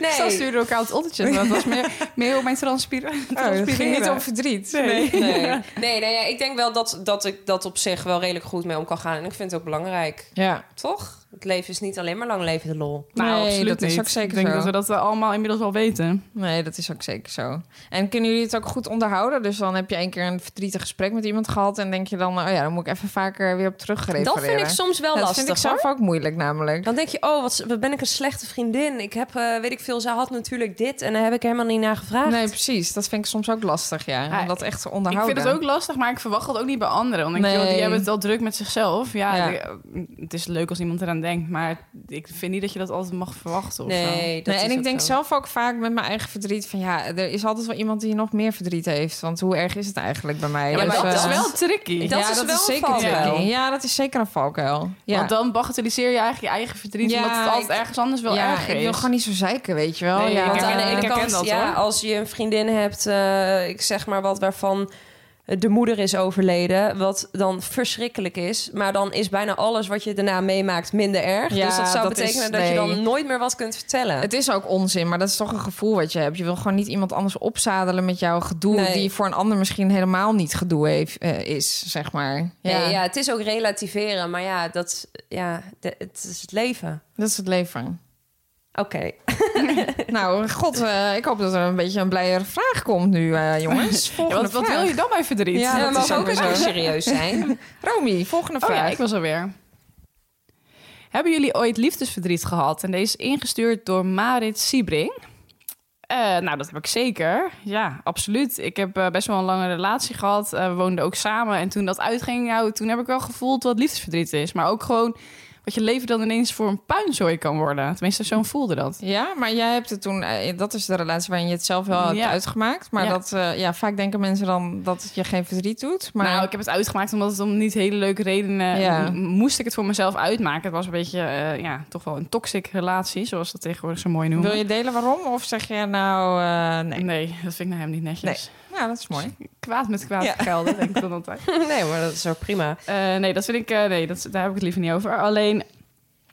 I: Nee. Zo
H: Nee,
I: stuurden we elkaar het ottertje. maar Dat was meer, meer op mijn transpira-
G: het ging
I: transpireren.
G: niet om verdriet.
I: Nee.
H: nee. nee, nee ja, ik denk wel dat, dat ik dat op zich wel redelijk goed mee om kan gaan. En ik vind het ook belangrijk,
G: Ja.
H: toch? Het leven is niet alleen maar lang leven de lol.
I: Nou,
G: Nee,
I: absoluut
G: dat is
I: niet.
G: ook zeker
I: ik denk
G: zo.
I: dat we dat eh, allemaal inmiddels wel weten.
G: Nee, dat is ook zeker zo. En kunnen jullie het ook goed onderhouden? Dus dan heb je één keer een verdrietig gesprek met iemand gehad... en denk je dan, oh ja, dan moet ik even vaker weer op terugrefereren.
H: Dat vind ik soms wel
G: Ja, dat
H: lastig.
G: vind ik
H: hoor.
G: zelf ook moeilijk namelijk.
H: Dan denk je, oh, wat, wat ben ik een slechte vriendin. Ik heb, eh, weet ik veel, zij had natuurlijk dit en daar heb ik helemaal niet naar gevraagd.
G: Nee, precies. Dat vind ik soms ook lastig, ja.
I: Ja,
G: Om dat echt te
I: Ik
G: onderhouden.
I: vind het ook lastig, maar ik verwacht dat ook niet bij anderen. Want ik denk,
G: Nee.
I: joh, die hebben het al druk met zichzelf. Ja,
G: Ja.
I: die- het is leuk als iemand eraan denkt, maar ik vind niet dat je dat altijd mag verwachten. Of zo.
H: nee, dat
G: nee,
H: is
G: en ik
H: ook
G: denk
H: zo.
G: zelf ook vaak met mijn eigen verdriet van... ja, er is altijd wel iemand die nog meer verdriet heeft. Want hoe erg is het eigenlijk bij mij?
H: Ja,
I: Ja,
H: maar
I: maar
G: Dus,
I: dat is
G: eh,
I: wel tricky.
H: dat
G: ja,
H: is
G: dat
H: wel
G: is
H: een
G: zeker
H: valkuil.
G: tricky. Ja, dat is zeker een valkuil. Ja.
I: Want dan bagatelliseer je eigenlijk je eigen verdriet,
G: Ja,
I: omdat het altijd
G: ik-
I: ergens anders wel
G: ja,
I: erger
G: ik
I: is.
G: wil gewoon niet zo zeiken, weet je wel.
I: Nee,
G: ja,
I: ik
H: Want aan
I: herken-
H: de
I: ik
H: ene
I: herken
H: kant,
I: dat,
H: ja,
I: hoor.
H: als je een vriendin hebt, eh, ik zeg maar wat, waarvan de moeder is overleden, wat dan verschrikkelijk is. Maar dan is bijna alles wat je daarna meemaakt minder erg.
G: Ja,
H: dus dat zou
G: dat
H: betekenen
G: is-
H: dat je
G: nee.
H: dan nooit meer wat kunt vertellen.
G: Het is ook onzin, maar dat is toch een gevoel wat je hebt. Je wil gewoon niet iemand anders opzadelen met jouw gedoe...
H: Nee.
G: die voor een ander misschien helemaal niet gedoe heeft, eh, is, zeg maar.
H: Nee,
G: Ja,
H: ja. het is ook relativeren, maar ja, dat, ja de- het is het leven.
G: dat is het leven. (laughs)
H: Oké.
G: nou, god, eh, ik hoop dat er een beetje een blijere vraag komt nu, eh,
H: (laughs)
G: jongens.
I: Ja,
G: Volgende
I: want wat
G: vraag.
I: wil je dan bij verdriet?
G: Ja,
H: Ja,
G: dat
H: we
G: is
H: mogen
G: ook
H: ook
G: weer
H: eens
G: zo.
H: serieus zijn.
G: Romy, volgende
I: Oh
G: vraag.
I: ja, ik was alweer. Hebben jullie ooit liefdesverdriet gehad? En deze is ingestuurd door Marit Siebring. Eh, nou, dat heb ik zeker. Ja, absoluut. Ik heb eh, best wel een lange relatie gehad. Eh, we woonden ook samen. En toen dat uitging, nou, toen heb ik wel gevoeld wat liefdesverdriet is. Maar ook gewoon wat je leven dan ineens voor een puinzooi kan worden. Tenminste, zo'n voelde dat.
G: Ja, maar jij hebt het toen... eh, dat is de relatie waarin je het zelf wel hebt
I: Ja.
G: uitgemaakt. Maar
I: Ja.
G: dat, eh, ja, vaak denken mensen dan dat het je geen verdriet doet. Maar
I: Nou, ik heb het uitgemaakt omdat het om niet hele leuke redenen...
G: Ja.
I: m- moest ik het voor mezelf uitmaken. Het was een beetje, eh, ja, toch wel een toxic relatie. Zoals dat tegenwoordig zo mooi noemen.
G: wil je delen waarom? Of zeg je nou... eh, nee.
I: Nee. dat vind ik naar hem niet netjes.
G: Nou, dat is mooi.
I: Kwaad met kwaad
G: Ja.
I: gelden, denk ik dan altijd.
H: Nee, maar dat is ook prima.
I: Eh, nee, dat vind ik, eh, nee, dat, daar heb ik het liever niet over. Alleen,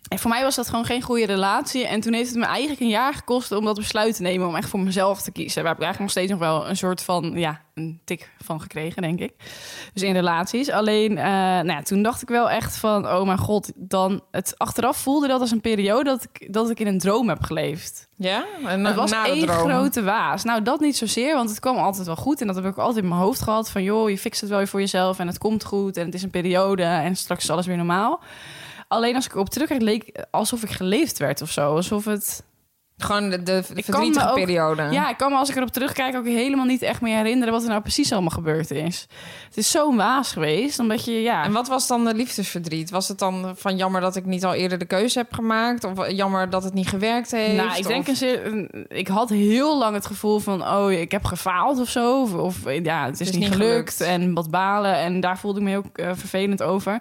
I: eh, voor mij was dat gewoon geen goede relatie. En toen heeft het me eigenlijk een jaar gekost om dat besluit te nemen... om echt voor mezelf te kiezen. Daar heb ik eigenlijk nog steeds nog wel een soort van, ja, een tik van gekregen, denk ik. Dus in relaties. Alleen, eh, nou ja, toen dacht ik wel echt van, oh mijn god, dan... Het achteraf voelde dat als een periode dat ik, dat ik in een droom heb geleefd.
G: Ja? En
I: Het was
G: na de
I: één
G: droom.
I: grote waas. Nou, dat niet zozeer, want het kwam altijd wel goed. En dat heb ik ook altijd in mijn hoofd gehad. Van joh, je fixt het wel weer voor jezelf en het komt goed. En het is een periode en straks is alles weer normaal. Alleen als ik erop terugkijk, leek alsof ik geleefd werd of zo. Alsof het...
G: Gewoon de, de
I: me
G: verdrietige
I: ook-
G: periode.
I: Ja, ik kan me als ik erop terugkijk ook helemaal niet echt meer herinneren... wat er nou precies allemaal gebeurd is. Het is zo'n waas geweest, omdat je... Ja,
G: En wat was dan de liefdesverdriet? Was het dan van jammer dat ik niet al eerder de keuze heb gemaakt? Of eh, jammer dat het niet gewerkt heeft?
I: Nou, ik denk
G: Of-
I: een zeer- een- ik had heel lang het gevoel van oh, ik heb gefaald of zo. Of, of, eh, ja, het is, niet, gelukt. En wat balen. En daar voelde ik me heel eh, vervelend over.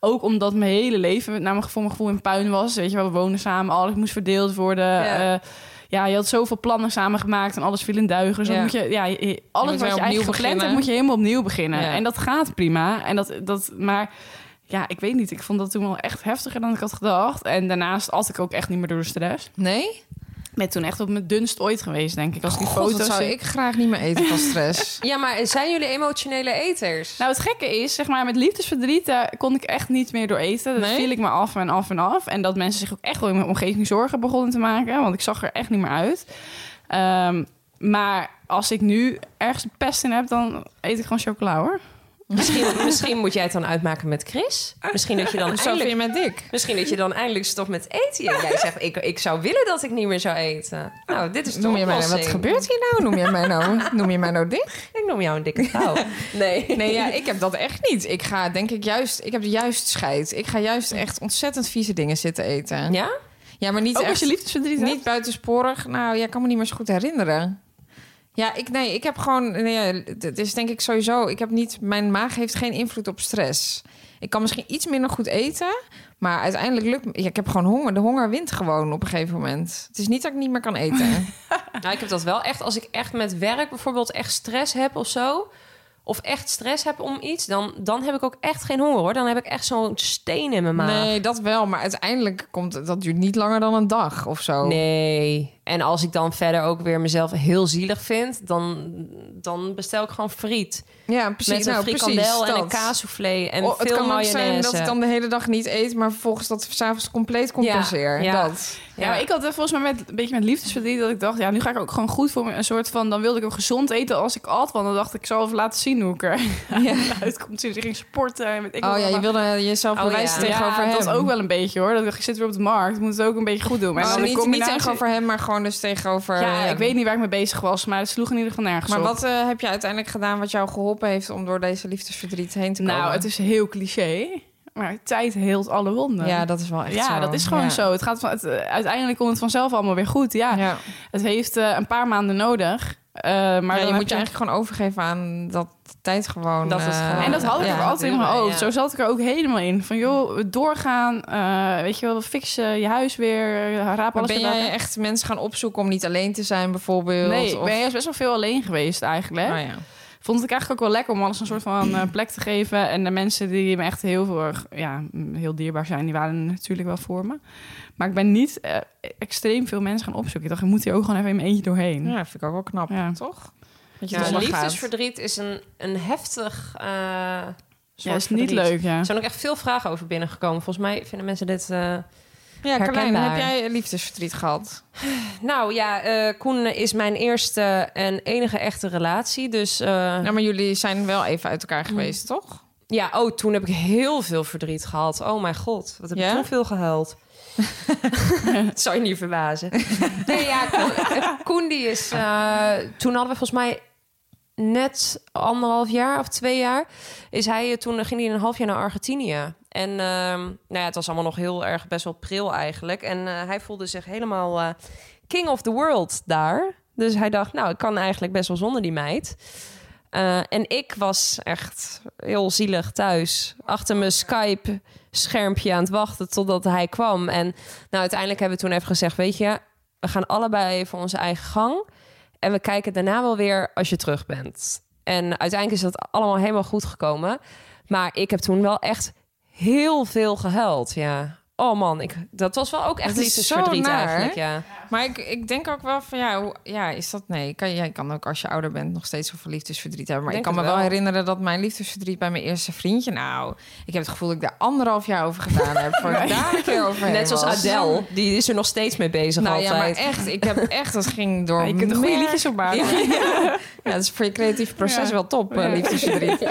I: Ook omdat mijn hele leven, namelijk voor mijn gevoel in puin was. Weet je wel, we wonen samen, alles moest verdeeld worden.
H: Ja.
I: Ja, ja je had zoveel plannen samengemaakt en alles viel in duigen. Dus
G: Ja.
I: dan moet je, ja, je- alles
G: moet
I: wat
G: weer
I: je eigenlijk
G: opnieuw
I: gepland
G: beginnen.
I: hebt, moet je helemaal opnieuw beginnen.
G: Ja.
I: En dat gaat prima. En dat, dat, maar ja, ik weet niet. Ik vond dat toen wel echt heftiger dan ik had gedacht. En daarnaast at ik ook echt niet meer door de stress.
G: Nee?
I: ben toen echt op mijn dunst ooit geweest, denk ik. Als ik die
G: God, dat
I: foto's
G: zou
I: zie.
G: ik graag niet meer eten van
I: (laughs)
G: stress.
H: Ja, maar zijn jullie emotionele eters?
I: Nou, het gekke is, zeg maar, met liefdesverdriet eh, kon ik echt niet meer door eten. Dat
G: Nee?
I: viel ik me af en af en af. En dat mensen zich ook echt wel in mijn omgeving zorgen begonnen te maken. Want ik zag er echt niet meer uit. Ehm, maar als ik nu ergens pest in heb, dan eet ik gewoon chocola, hoor.
H: Misschien, misschien moet jij het dan uitmaken met Chris. Misschien dat
G: (laughs)
H: je dan
G: Zo vind
H: eindelijk,
G: je mij dik.
H: misschien dat je dan eindelijk stopt met eten. En jij zegt, ik, ik zou willen dat ik niet meer zou eten. Nou, dit is de
G: Noem je mij nou,
H: oplossing.
G: wat gebeurt hier nou? Noem je mij (laughs) nou, noem je mij nou dik?
H: Ik noem jou een dikke vrouw. Nee.
G: Nee, ja, ik heb dat echt niet. Ik ga denk ik juist, ik heb juist scheid. Ik ga juist echt ontzettend vieze dingen zitten eten. Ja,
H: Ja?
G: maar niet
I: Ook
G: echt,
I: als je liefdesverdriet hebt?
G: niet buitensporig. Nou, ja, ik kan me niet meer zo goed herinneren. Ja, ik, nee, ik heb gewoon, nee, ja, het is denk ik sowieso, ik heb niet, mijn maag heeft geen invloed op stress. Ik kan misschien iets minder goed eten, maar uiteindelijk lukt, me- ja, ik heb gewoon honger. De honger wint gewoon op een gegeven moment. Het is niet dat ik niet meer kan eten.
H: Nou, ik heb dat wel echt. Als ik echt met werk bijvoorbeeld echt stress heb of zo. Of echt stress heb om iets. Dan, dan heb ik ook echt geen honger hoor. Dan heb ik echt zo'n steen in mijn maag.
G: Nee, dat wel, maar uiteindelijk komt, het- dat duurt niet langer dan een dag of zo.
H: Nee. En als ik dan verder ook weer mezelf heel zielig vind, dan, dan bestel ik gewoon friet.
G: Ja, precies.
H: Met een
G: nou,
H: frikandel
G: precies,
H: en een
G: dat.
H: kaassoufflé en
G: Oh, het
H: veel
G: kan ook
H: mayonaise.
G: zijn dat ik dan de hele dag niet eet, maar vervolgens dat s'avonds compleet compenseer.
H: Ja, ja.
G: Dat.
I: Ja, maar ik had eh, volgens mij met, een beetje met liefdesverdriet dat ik dacht, ja, nu ga ik ook gewoon goed voor me. Een soort van, dan wilde ik ook gezond eten als ik at, want dan dacht ik, ik zal even laten zien hoe ik (laughs) eruit komt. Dus ik ging sporten en weet ik
G: Oh
I: wat
G: ja, je
I: allemaal.
G: wilde jezelf
H: Oh,
G: bewijzen
H: ja.
G: tegenover
I: ja,
G: hem.
I: dat ook wel een beetje hoor. Dat ik dacht, ik zit weer op de markt, moet het ook een beetje goed doen.
G: Maar
I: dan de
G: niet, niet
I: combinatie-
G: tegenover hem, maar gewoon dus tegenover...
I: Ja,
G: hem.
I: ik weet niet waar ik mee bezig was, maar het sloeg in ieder geval nergens
G: Maar
I: op.
G: wat eh, heb je uiteindelijk gedaan wat jou geholpen heeft om door deze liefdesverdriet heen te komen?
I: Nou, het is heel cliché, maar tijd heelt alle wonden.
G: Ja, dat is wel echt
I: Ja,
G: zo.
I: dat is gewoon
G: Ja.
I: zo. Het gaat van, het, eh, uiteindelijk komt het vanzelf allemaal weer goed. Ja,
G: Ja. Ja,
I: het heeft eh, een paar maanden nodig. eh,
G: je
I: maar dan
G: moet
I: heb
G: je eigenlijk gewoon overgeven aan dat tijd gewoon...
H: Dat het
G: eh,
H: gewoon-
I: En dat had ik
G: ja.
I: ook altijd in mijn
H: Ja.
I: hoofd. Zo zat ik er ook helemaal in. Van joh, doorgaan, eh, weet je wel, fix eh, je huis weer, eh, raap
G: Maar
I: alles
G: ben
I: weer bij
G: jij
I: elkaar.
G: echt mensen gaan opzoeken om niet alleen te zijn bijvoorbeeld?
I: Nee, ik
G: of...
I: ben eerst best wel veel alleen geweest eigenlijk.
G: Oh, ja.
I: Vond het eigenlijk ook wel lekker om alles een soort van eh, plek te geven. En de mensen die me echt heel, veel, ja, mm, heel dierbaar zijn, die waren natuurlijk wel voor me. Maar ik ben niet eh, extreem veel mensen gaan opzoeken. Ik dacht, ik moet hier ook gewoon even in mijn eentje
H: Hm.
I: doorheen. Dus
G: ja, vind ik ook wel knap,
I: Ja.
G: toch? Dat je
H: Ja,
G: eronder gaat.
H: liefdesverdriet is een, een heftig. eh
I: Ja,
H: soort
I: is niet
H: verdriet.
I: leuk, ja.
H: Er zijn ook echt veel vragen over binnengekomen. Volgens mij vinden mensen dit. eh,
G: Ja, Carlijn,
H: Herkenbaar.
G: heb jij liefdesverdriet gehad?
H: Nou ja, eh, Koen is mijn eerste en enige echte relatie. Dus eh,
G: Nou, maar jullie zijn wel even uit
H: Hm.
G: elkaar geweest, toch?
H: ja, oh, toen heb ik heel veel verdriet gehad. Oh mijn god, wat heb
G: Ja?
H: ik toen veel gehuild. Het zou je niet verbazen. nee, ja, Koen, eh, Koen die is... eh, toen hadden we volgens mij net anderhalf jaar of twee jaar... Is hij, eh, toen ging hij een half jaar naar Argentinië. En ehm, nou ja, het was allemaal nog heel erg best wel pril eigenlijk. En eh, hij voelde zich helemaal eh, king of the world daar. Dus hij dacht, nou, ik kan eigenlijk best wel zonder die meid. Eh, en ik was echt heel zielig thuis. Achter mijn Skype-schermpje aan het wachten totdat hij kwam. En nou, uiteindelijk hebben we toen even gezegd... weet je, we gaan allebei even onze eigen gang. En we kijken daarna wel weer als je terug bent. En uiteindelijk is dat allemaal helemaal goed gekomen. Maar ik heb toen wel echt heel veel gehuild, ja. Oh man, ik, dat was wel ook echt
G: Dat is
H: liefdesverdriet
G: zo naar, hè?
H: eigenlijk, ja.
G: Maar ik, ik denk ook wel van, ja, hoe, ja is dat... Nee, kan, jij kan ook als je ouder bent nog steeds zoveel liefdesverdriet hebben. Maar ik
H: Denk
G: kan me
H: het
G: wel
H: wel.
G: herinneren dat mijn liefdesverdriet bij mijn eerste vriendje... Nou, ik heb het gevoel dat ik daar anderhalf jaar over gedaan heb. Voor ik daar een keer over
H: Net zoals
G: Adel.
H: Adele, die is er nog steeds mee bezig
G: Nou ja, maar
H: altijd.
G: echt, ik (laughs) heb echt, dat ging door
I: Ja, je kunt er goede
G: merg-
I: liedjes op maken.
G: (laughs) Ja, dat is voor je creatief proces
I: Ja.
G: wel top, eh,
I: (laughs) Ja.
G: liefdesverdriet.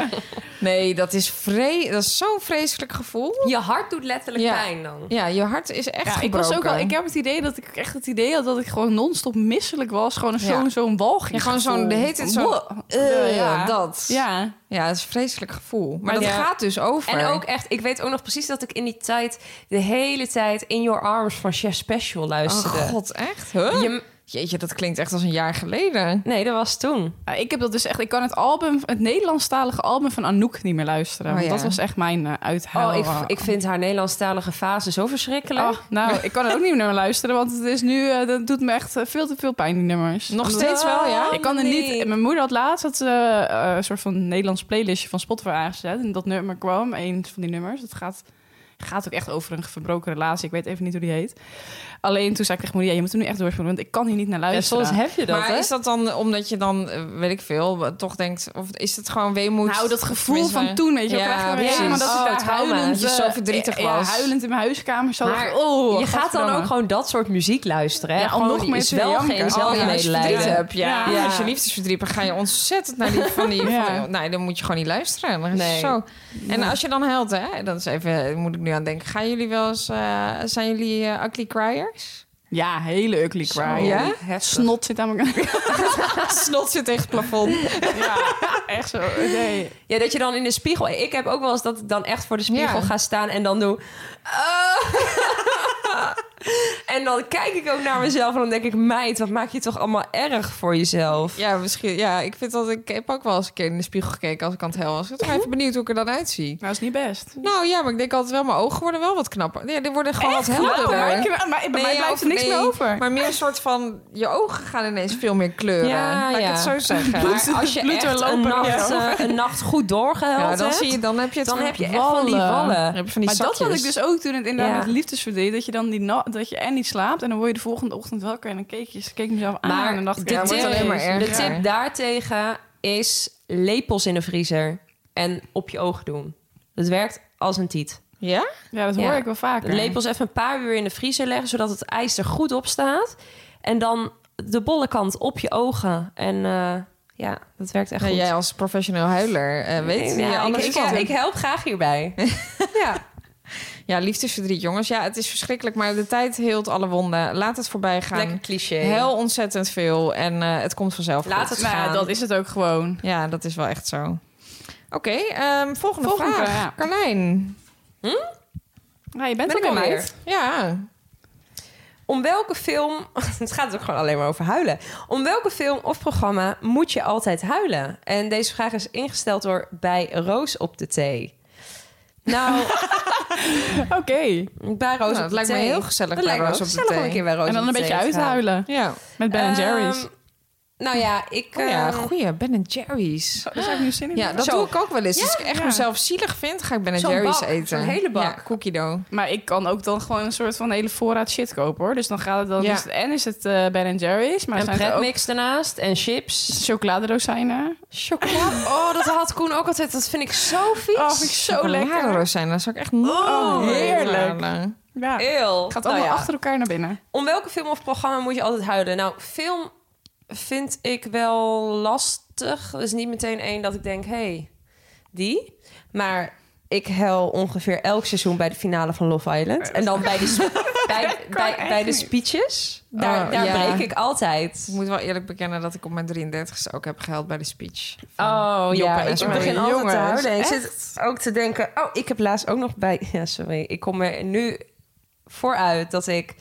G: Nee, dat is, vre dat is zo'n vreselijk gevoel.
H: Je hart doet letterlijk
G: Ja.
H: pijn dan.
G: Ja, je hart is echt
I: Ja, ik,
G: gebroken.
I: was ook al, ik heb het idee dat ik echt het idee had dat ik gewoon non-stop misselijk was. Gewoon een-
G: Ja.
I: zo'n zo'n walging.
G: Ja, gewoon zo'n,
I: gevoel.
G: de heet het
I: Van,
G: zo.
I: "Bleh."
G: ja, dat. Ja.
I: Ja.
G: dat is een vreselijk gevoel. Maar,
I: Maar
G: dat
I: ja.
G: gaat dus over.
H: En ook echt, ik weet ook nog precies dat ik in die tijd de hele tijd In Your Arms van Chef Special luisterde.
G: Oh god, echt? Huh?
H: Je-
G: Jeetje, dat klinkt echt als een jaar geleden.
H: nee, dat was toen.
I: Ja, Ik heb dat dus echt. Ik kan het album, het Nederlandstalige album van Anouk niet meer luisteren.
G: Oh,
I: want
G: ja.
I: dat was echt mijn eh uithaal.
H: Oh, ik, ik vind haar Nederlandstalige fase zo verschrikkelijk.
I: Oh, nou, ik kan er ook niet meer naar luisteren, want het is nu, eh, dat doet me echt eh, veel te veel pijn, die nummers.
G: Nog
I: Omdat-
G: steeds wel, ja?
I: Ik kan er niet. Mijn moeder had laatst dat, eh, eh, een soort van Nederlands playlistje van Spotify aangezet. En dat nummer kwam, een van die nummers. Dat gaat. gaat ook echt over een verbroken relatie. Ik weet even niet hoe die heet. Alleen toen zei ik tegen Maria, je moet er nu echt doorspelen, want ik kan hier niet naar luisteren.
H: heb je
G: maar is dat dan omdat je dan, eh, weet ik veel, eh, toch denkt... Of is het gewoon weemoed?
I: Nou, dat gevoel
G: Tenminste, eh,
I: van toen, weet je,
G: Ja,
I: ja, ja,
H: precies.
I: maar dat
H: Oh,
I: ik daar
H: trauma.
I: huilend,
G: Dat je
I: eh,
G: zo verdrietig
I: ja,
G: was.
I: huilend in mijn huiskamer zat.
H: Maar
I: oh,
H: je gaat dan
I: godverdamme.
H: ook gewoon dat soort muziek luisteren. Hè?
I: Ja, om
H: gewoon
I: nog
H: die
I: meer
H: is
I: te
H: wel
I: janken.
H: geen
I: Oh,
G: Oh, ja, als je verdriet
H: zelfmedelijden.
G: hebt, ja.
I: Ja.
G: Als je liefdesverdriet hebt, ga je ontzettend naar die
I: (laughs)
G: van die...
I: Ja.
G: van die- nou, dan moet je gewoon niet luisteren. Dan is het
H: Nee.
G: zo. En als je dan huilt, hè, dat is even, moet ik nu aan denken. Gaan jullie wel eens, eh, zijn jullie eh, ugly (laughs) criers?
I: Ja, hele ugly cry.
G: ja?
I: Snot zit aan elkaar.
G: Snot zit tegen het plafond.
I: (laughs) ja, echt zo. Nee.
H: Ja, dat je dan in de spiegel... Ik heb ook wel eens dat ik dan echt voor de spiegel
G: Ja.
H: ga staan en dan doe... "Ah." (laughs) en dan kijk ik ook naar mezelf en dan denk ik... Meid, wat maak je toch allemaal erg voor jezelf.
G: Ja, misschien. Ja, ik vind dat ik heb ook wel eens een keer in de spiegel gekeken als ik aan het hel was. Ik ben toch even (laughs) benieuwd hoe ik er dan uitzie.
I: Nou, is niet best.
G: Nou ja, maar ik denk altijd wel, mijn ogen worden wel wat knapper. Nee, die worden gewoon wat helderder.
I: maar ik, maar bij mij
G: ja,
I: blijft
G: of
I: er niks
G: nee,
I: meer over.
G: Maar meer een soort van, je ogen gaan ineens veel meer kleuren.
H: Ja,
G: laat
H: ja.
G: ik het zo zeggen.
H: Maar als je echt
I: bloed doorlopen,
H: een nacht,
I: ja.
H: eh, een nacht goed doorgehuild
G: Ja, dan,
H: hebt...
G: zie je, dan heb je het
H: dan
G: gewoon-
H: heb je echt van die
G: Dan
H: wallen.
G: heb je van die
I: Maar dat had ik
G: zakjes.
I: dus ook toen het inderdaad
H: Ja.
I: met liefdesverdriet. Dat je dan die na- dat je en niet slaapt. En dan word je de volgende ochtend wakker. En dan keek, je, keek ik mezelf aan.
H: Maar
I: en dan dacht ik,
H: de
I: ja,
G: wordt
H: tip-
G: alleen maar
I: jezus.
G: erger.
H: De tip daartegen is lepels in de vriezer en op je ogen doen. Dat werkt als een tiet.
G: Ja?
I: Ja, dat hoor
H: "Oh, Ja.
I: ik wel vaker.
H: Lepels even een paar uur in de vriezer leggen, zodat het ijs er goed op staat. En dan de bolle kant op je ogen. En eh, ja, dat werkt echt
G: Nou,
H: goed.
G: jij als professioneel huiler eh, weet je
H: ja, ik,
G: alles
H: ik,
G: van.
H: ik help graag hierbij.
G: (laughs) Ja. ja, liefdesverdriet, jongens. Ja, het is verschrikkelijk, maar de tijd heelt alle wonden. Laat het voorbij gaan.
H: Lekker cliché.
G: Heel ontzettend veel en eh, het komt vanzelf
H: Laat
G: goed.
H: het
I: Nou,
H: gaan.
I: dat is het ook gewoon.
G: Ja, dat is wel echt zo. Oké, ehm, volgende,
I: Volgende
G: vraag.
I: vraag, ja.
G: Carlijn.
I: Ja, je bent
H: Ben
I: ook
H: ik
I: al
H: alweer?
I: uit.
G: Ja.
H: Om welke film, (laughs) het gaat ook gewoon alleen maar over huilen. Om welke film of programma moet je altijd huilen? En deze vraag is ingesteld door Bij Roos op de
G: (laughs)
H: Thee. Nou,
I: (laughs) Oké.
H: Oh, bij
G: Nou,
H: Roos op
G: het
H: de
G: lijkt me
H: Thee.
G: heel gezellig
H: Dat
G: bij
H: lijkt me
G: Roos
H: ook
G: op de
H: gezellig om
G: Thee.
H: een keer bij Roos
I: En dan een
H: op de
I: beetje
H: Thee te gaan.
I: uithuilen.
G: Ja.
I: Met Ben Jerry's.
H: Ehm, nou ja, ik...
G: Oh ja,
H: eh,
G: goeie. Ben Jerry's.
I: Daar zou ik nu zin in
G: Ja,
I: hebben.
G: dat
H: Zo.
G: doe ik ook wel eens. Dus Als ik echt
I: ja.
G: mezelf zielig vind, ga ik Ben
H: Zo'n
G: Jerry's
H: bak,
G: eten.
H: zo'n hele bak.
G: Ja, cookie dough.
I: Maar ik kan ook dan gewoon een soort van hele voorraad shit kopen hoor. Dus dan gaat het dan.
G: Ja.
I: Is het, en is het eh Ben Jerry's, maar
H: een
I: zijn er ook
H: pretmix daarnaast en chips.
I: chocoladerozijnen.
H: Chocolade. Oh, dat had Koen ook altijd. Dat vind ik zo vies.
I: Oh, vind ik zo lekker.
G: Chocoladeroos zijn, dat zou ik echt nooit
I: Oh,
G: willen
I: heerlijk.
G: halen.
I: Ja. Het
H: Eeuw.
I: gaat
H: Nou
I: allemaal
H: ja.
I: achter elkaar naar binnen.
H: Om welke film of programma moet je altijd huilen? Nou, film vind ik wel lastig. Er is niet meteen één dat ik denk, hé, hey, die. Maar ik huil ongeveer elk seizoen bij de finale van Love Island. En dan bij de, sp- (laughs) bij, bij,
I: echt
H: bij de
I: niet.
H: speeches. Daar,
G: Oh,
H: daar
G: ja.
H: breek ik altijd.
G: Ik moet wel eerlijk bekennen dat ik op mijn 33ste ook heb gehuild bij de speech.
H: Oh ja,
G: en
H: ik
G: Esmeralda.
H: begin altijd
I: Jongens,
H: te huilen. En ik zit ook te denken, oh, ik heb laatst ook nog bij... Ja, sorry, ik kom er nu vooruit dat ik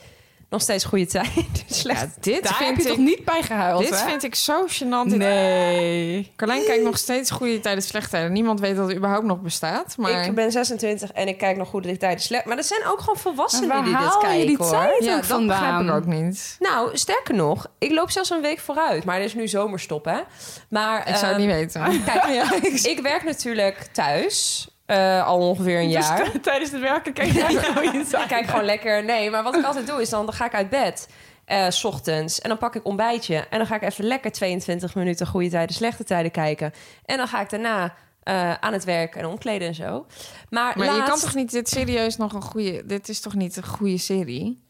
H: nog steeds goede (laughs) tijd... Slecht.
G: Ja, dit
I: Daar heb
G: vind
I: je toch
G: ik...
I: niet bij gehuild?
G: Dit
I: hè?
G: vind ik zo gênant. Dit-
I: Nee.
G: Carlijn kijkt nog steeds goede tijden, slechte tijden. Niemand weet dat het überhaupt nog bestaat. Maar
H: Ik ben 26 en ik kijk nog goede tijden slecht. Maar dat zijn ook gewoon
I: Maar
H: volwassenen
I: waar
H: die dit
I: haal je
H: kijken
I: die
H: hoor.
I: tijd
G: ja,
I: ook
G: dat begrijp
I: vandaan?
G: ik ook niet.
H: Nou, sterker nog, ik loop zelfs een week vooruit. Maar er is nu zomerstop, hè? Maar,
G: Ik zou het
H: ehm,
G: niet (laughs) weten.
H: (laughs) Kijk,
I: (laughs)
H: ik werk natuurlijk thuis eh, al ongeveer een
I: Dus
H: jaar.
I: t- tijdens het werken kijk jij
H: (laughs)
I: gewoon iets
H: Ik kijk gewoon lekker. Nee, maar wat ik altijd doe is dan, dan ga ik uit bed. eh, s ochtends. En dan pak ik ontbijtje. En dan ga ik even lekker 22 minuten goede tijden, slechte tijden kijken. En dan ga ik daarna eh, aan het werk en omkleden en zo. Maar,
G: Maar je
H: laatst-
G: kan toch niet dit serieus nog een goede... Dit is toch niet een goede serie?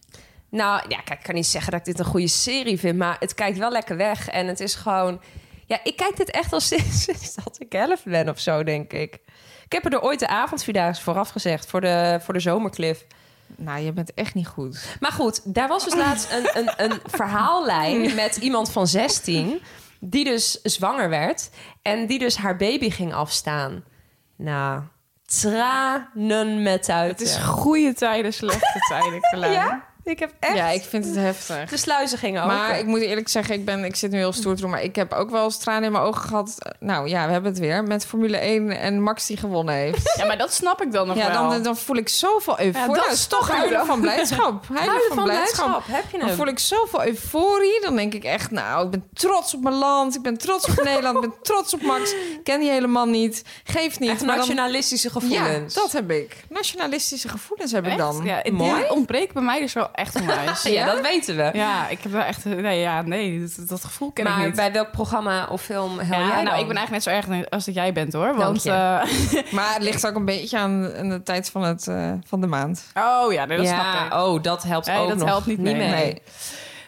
H: Nou ja, kijk, ik kan niet zeggen dat ik dit een goede serie vind, maar het kijkt wel lekker weg. En het is gewoon. Ja, ik kijk dit echt al (laughs) sinds, sinds dat ik elf ben of zo, denk ik. Ik heb er ooit de avondvierdaagse vooraf gezegd voor de, voor de zomercliff.
G: Nou, je bent echt niet goed.
H: Maar goed, daar was dus laatst een, een,
G: (laughs)
H: een verhaallijn met iemand van 16, die dus zwanger werd en die dus haar baby ging afstaan. Nou, tranen met uit. (laughs)
I: Het is goede tijden, slechte tijden, Carlijn.
H: Ja? Ik heb echt...
G: Ja, ik vind het heftig.
H: De sluizen gingen
I: Oh,
H: open.
G: Maar ik moet eerlijk zeggen, ik, ben, ik zit nu heel stoer te doen. Maar ik heb ook wel eens tranen in mijn ogen gehad. Nou ja, we hebben het weer. Met Formule 1 en Max die gewonnen heeft.
I: Ja, maar dat snap ik dan nog
G: ja,
I: wel.
G: dan, dan voel ik zoveel euforie.
I: dat
G: dat is
I: snap
G: toch
I: ik
G: huilen
I: wel.
G: van blijdschap. Huilen van blijdschap.
H: Heb je
G: Dan
H: hem?
G: voel ik zoveel euforie. Dan denk ik echt, nou, ik ben trots op mijn land. Ik ben trots op Nederland. Ik ben trots op Max. Ik ken die helemaal niet. Geeft niet.
H: Echt
G: maar dan-
H: nationalistische
G: ja,
H: gevoelens.
G: dat heb ik. Nationalistische gevoelens heb ik
I: Echt?
G: dan.
I: Ja, het
G: Mooi.
I: dit ontbreekt bij mij dus wel echt onwijs.
H: Ja, dat weten we.
I: Ja, ik heb wel echt... Nee, ja, nee dat, dat gevoel ken ik
H: maar
I: niet.
H: bij welk programma of film hel
I: ja,
H: jij
I: nou,
H: dan?
I: ik ben eigenlijk net zo erg als dat jij bent, hoor. Want,
H: je.
I: eh, (laughs)
G: Maar het ligt ook een beetje aan, aan de tijd van, het, eh, van de maand.
I: oh ja, nee, dat snap
H: ja,
I: ik.
H: oh, dat helpt
I: Nee,
H: ook
I: dat
H: nog
I: helpt niet mee.
H: mee.
G: Nee.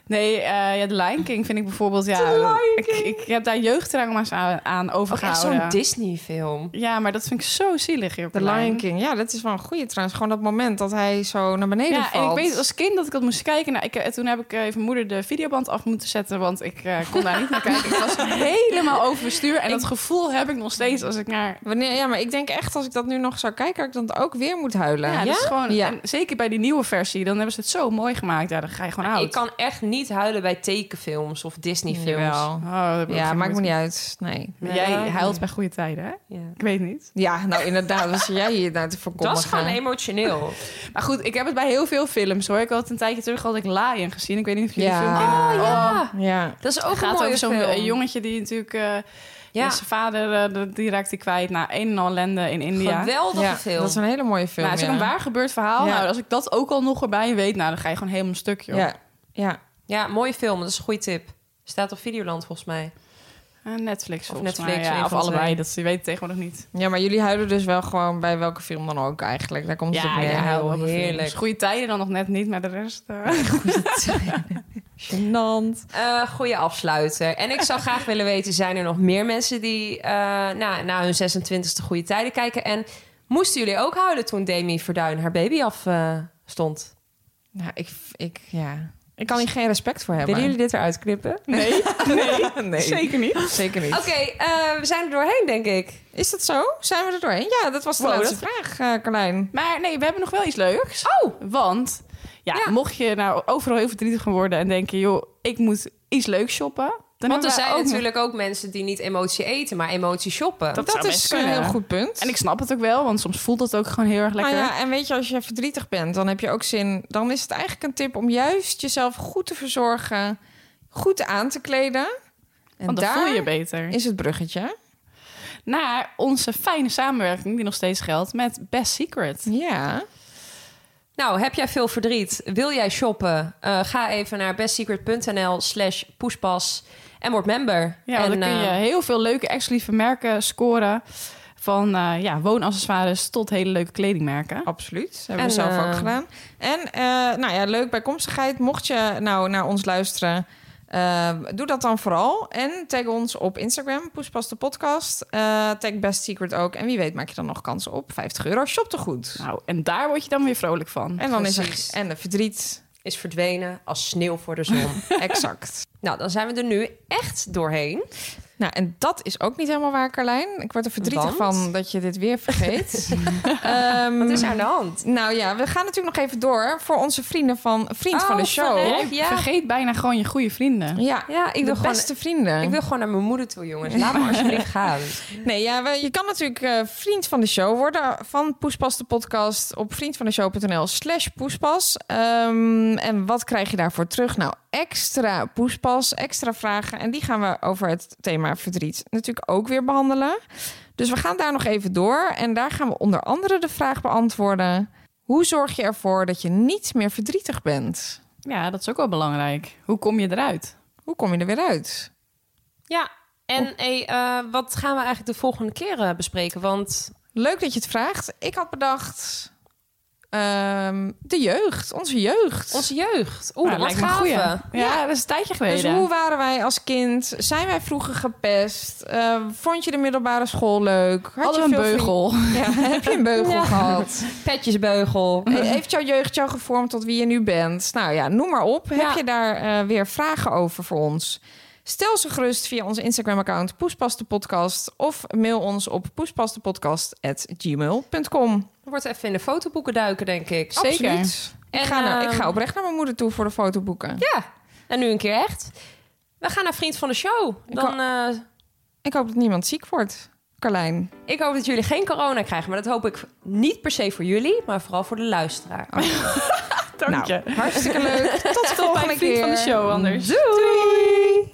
I: Nee, eh, ja, de Lion King vind ik bijvoorbeeld... Ja, ik, ik heb daar jeugdtrauma's aan, aan
H: Ook echt
I: overgehouden.
H: zo'n Disney-film.
I: ja, maar dat vind ik zo zielig, hier op
G: De
I: de
G: Lion
I: Lion
G: King, ja, dat is wel een goeie trouwens. Gewoon dat moment dat hij zo naar beneden
I: Ja, en ik
G: valt.
I: weet als kind dat ik dat moest kijken. Nou, ik, eh, toen heb ik eh, even moeder de videoband af moeten zetten, want ik eh, kon daar niet naar kijken. Ik was helemaal overstuur. En dat gevoel heb ik nog steeds als ik naar...
G: Wanneer, ja, maar ik denk echt als ik dat nu nog zou kijken, dat ik dan ook weer moet huilen.
I: Ja, dat is gewoon...
G: Ja.
I: en zeker bij die nieuwe versie, dan hebben ze het zo mooi gemaakt. Ja, dan ga je gewoon oud.
H: Ik kan echt niet huilen bij tekenfilms of Disney-films.
G: Jawel.
I: Oh, dat heb ik ook
G: Ja,
I: geen
G: maakt me
I: moeite.
G: niet uit. Nee.
I: Maar Jij huilt bij goede tijden, hè?
H: Ja.
I: Ik weet niet.
G: Ja, nou inderdaad, als jij hier
I: (laughs)
G: naar te voorkomen
H: Dat is gewoon emotioneel.
I: Maar goed, ik heb het bij heel veel films, hoor. Ik had een tijdje terug had ik Lion gezien. Ik weet niet of jullie
G: Ja.
I: die film
G: Oh,
I: kennen.
H: ja.
G: Ja.
H: Dat is ook
I: Het
H: een
I: gaat
H: mooie
I: over zo'n
H: film.
I: eh, jongetje die natuurlijk... eh,
H: Ja,
I: Zijn vader eh, de- die raakt hij kwijt na een en al ellende in India.
H: geweldige
G: ja,
H: film.
G: dat is een hele mooie film.
I: Nou, het is ook
G: ja.
I: een waar gebeurd verhaal.
G: Ja.
I: Nou, als ik dat ook al nog erbij weet, nou, dan ga je gewoon helemaal een stukje. joh.
G: Ja, ja.
H: Ja, mooie film. Dat is een goede tip. Staat op Videoland volgens mij.
I: Eh, Netflix
H: Of
I: of
H: Netflix,
I: Netflix,
H: een
I: ja, of
H: van de
I: allebei.
H: twee.
I: Dat ze weten tegenwoordig niet.
G: ja, maar jullie huilen dus wel gewoon bij welke film dan ook eigenlijk. Daar komt het op neer.
H: heel heerlijk.
I: Goede tijden dan nog net niet, maar de rest. eh.
G: Gênant.
H: Eh goede afsluiter. En ik zou graag willen weten, zijn er nog meer mensen die eh, na, na hun 26e goede tijden kijken? En moesten jullie ook huilen toen Demi Verduin haar baby af eh, stond?
G: Nou, ik, ik, ja. ik kan hier geen respect voor hebben. (laughs)
H: Willen (laughs) jullie dit eruit knippen?
I: Nee,
G: nee, nee.
I: zeker niet.
G: Zeker niet.
H: Oké, eh, we zijn er doorheen, denk ik.
G: Is dat zo? Zijn we er doorheen? Ja, dat was de
I: Wow,
G: laatste vraag, eh, Carlijn.
I: Maar nee, we hebben nog wel iets leuks.
H: Oh!
I: Want ja,
H: Ja.
I: mocht je nou overal heel verdrietig gaan worden en denken, joh, ik moet iets leuks shoppen. Dan
H: Want
I: hebben
H: er
I: wij
H: zijn
I: ook nog-
H: natuurlijk ook mensen die niet emotie eten, maar emotie shoppen.
I: Dat-
G: Dat
I: zou
G: is
I: best
G: een
I: kunnen.
G: heel goed punt.
I: En ik snap het ook wel, want soms voelt dat ook gewoon heel erg
G: Nou
I: lekker.
G: ja, en weet je, als je verdrietig bent, dan heb je ook zin. Dan is het eigenlijk een tip om juist jezelf goed te verzorgen, goed aan te kleden. En
I: want dan
G: daar
I: voel je je beter.
G: is het bruggetje.
I: naar onze fijne samenwerking die nog steeds geldt met Best Secret.
G: Ja.
H: Nou, heb jij veel verdriet? Wil jij shoppen? Eh, ga even naar bestsecret.nl slash poespas en word member.
I: Ja,
H: en,
I: want dan kun je
H: eh,
I: heel veel leuke exclusieve merken scoren. Van eh, ja, woonaccessoires tot hele leuke kledingmerken.
G: Absoluut. Dat hebben we
H: En,
G: zelf
H: eh,
G: ook gedaan. En eh, nou ja, leuk bijkomstigheid. Mocht je nou naar ons luisteren, eh, doe dat dan vooral. En tag ons op Instagram, Poespas de podcast. Eh, tag Best Secret ook. En wie weet maak je dan nog kans op 50 euro shoptegoed.
I: Nou, en daar word je dan weer vrolijk van.
G: en dan is er
H: precies.
G: en de verdriet.
H: is verdwenen als sneeuw voor de (laughs) zon.
G: Exact.
H: nou, dan zijn we er nu echt doorheen.
G: Nou, en dat is ook niet helemaal waar, Carlijn. Ik word er verdrietig
H: Want?
G: van dat je dit weer
H: (laughs)
G: vergeet. Ehm,
H: Wat is aan de hand?
G: nou ja, we gaan natuurlijk nog even door voor onze vrienden van Vriend van de
H: Oh,
G: Show.
H: verrek.
I: Jij
H: ja.
I: vergeet bijna gewoon je goede vrienden.
G: Ja,
H: Ja, ik
G: de
H: wil,
G: beste
H: gewoon,
G: vrienden.
H: ik wil gewoon naar mijn moeder toe, jongens. Laat me (laughs) alsjeblieft gaan.
G: Nee, ja, we- je kan natuurlijk eh, vriend van de show worden van Poespas de podcast op vriendvandeshow.nl slash poespas. Ehm, en wat krijg je daarvoor terug? Nou, extra poespas, extra vragen. En die gaan we over het thema verdriet natuurlijk ook weer behandelen. Dus we gaan daar nog even door. En daar gaan we onder andere de vraag beantwoorden... hoe zorg je ervoor dat je niet meer verdrietig bent?
I: Ja, dat is ook wel belangrijk. Hoe kom je eruit?
G: Hoe kom je er weer uit?
H: Ja, en hey, eh, wat gaan we eigenlijk de volgende keer eh, bespreken? Want
G: Leuk dat je het vraagt. Ik had bedacht... ehm, de jeugd, onze jeugd.
H: onze jeugd. Oeh,
I: Nou,
H: dat lijkt
I: me een
H: me
I: goeie.
H: gaaf.
I: Ja, dat is een tijdje geleden.
G: Dus hoe waren wij als kind? Zijn wij vroeger gepest? Eh, vond je de middelbare school leuk? Had
I: Hadden
G: je
I: we een
G: veel
I: beugel.
G: vrienden? Ja, heb je
I: (laughs)
G: een beugel
H: Ja.
G: gehad?
H: Petjesbeugel.
G: Eh, Heeft jouw jeugd jou gevormd tot wie je nu bent? Nou ja, noem maar op. Heb je daar eh, weer vragen over voor ons? Stel ze gerust via onze Instagram-account Poespas de Podcast of mail ons op poespasdepodcast@gmail.com.
H: Wordt even in de fotoboeken duiken, denk ik.
I: Zeker.
G: Absoluut. Ik
H: En,
G: ga, naar,
J: eh,
H: ehm,
G: ik ga oprecht naar mijn moeder toe voor de fotoboeken.
H: Ja, en nu een keer echt. We gaan naar Vriend van de Show.
G: Ik
H: Dan, eh,
G: Ik hoop dat niemand ziek wordt, Carlijn.
H: ik hoop dat jullie geen corona krijgen. Maar dat hoop ik niet per se voor jullie, maar vooral voor de luisteraar.
J: Dank
G: Nou,
J: je.
G: Hartstikke
J: (laughs)
G: leuk. Tot de volgende
J: Mijn vriend
G: keer.
J: van de show anders.
G: Doei.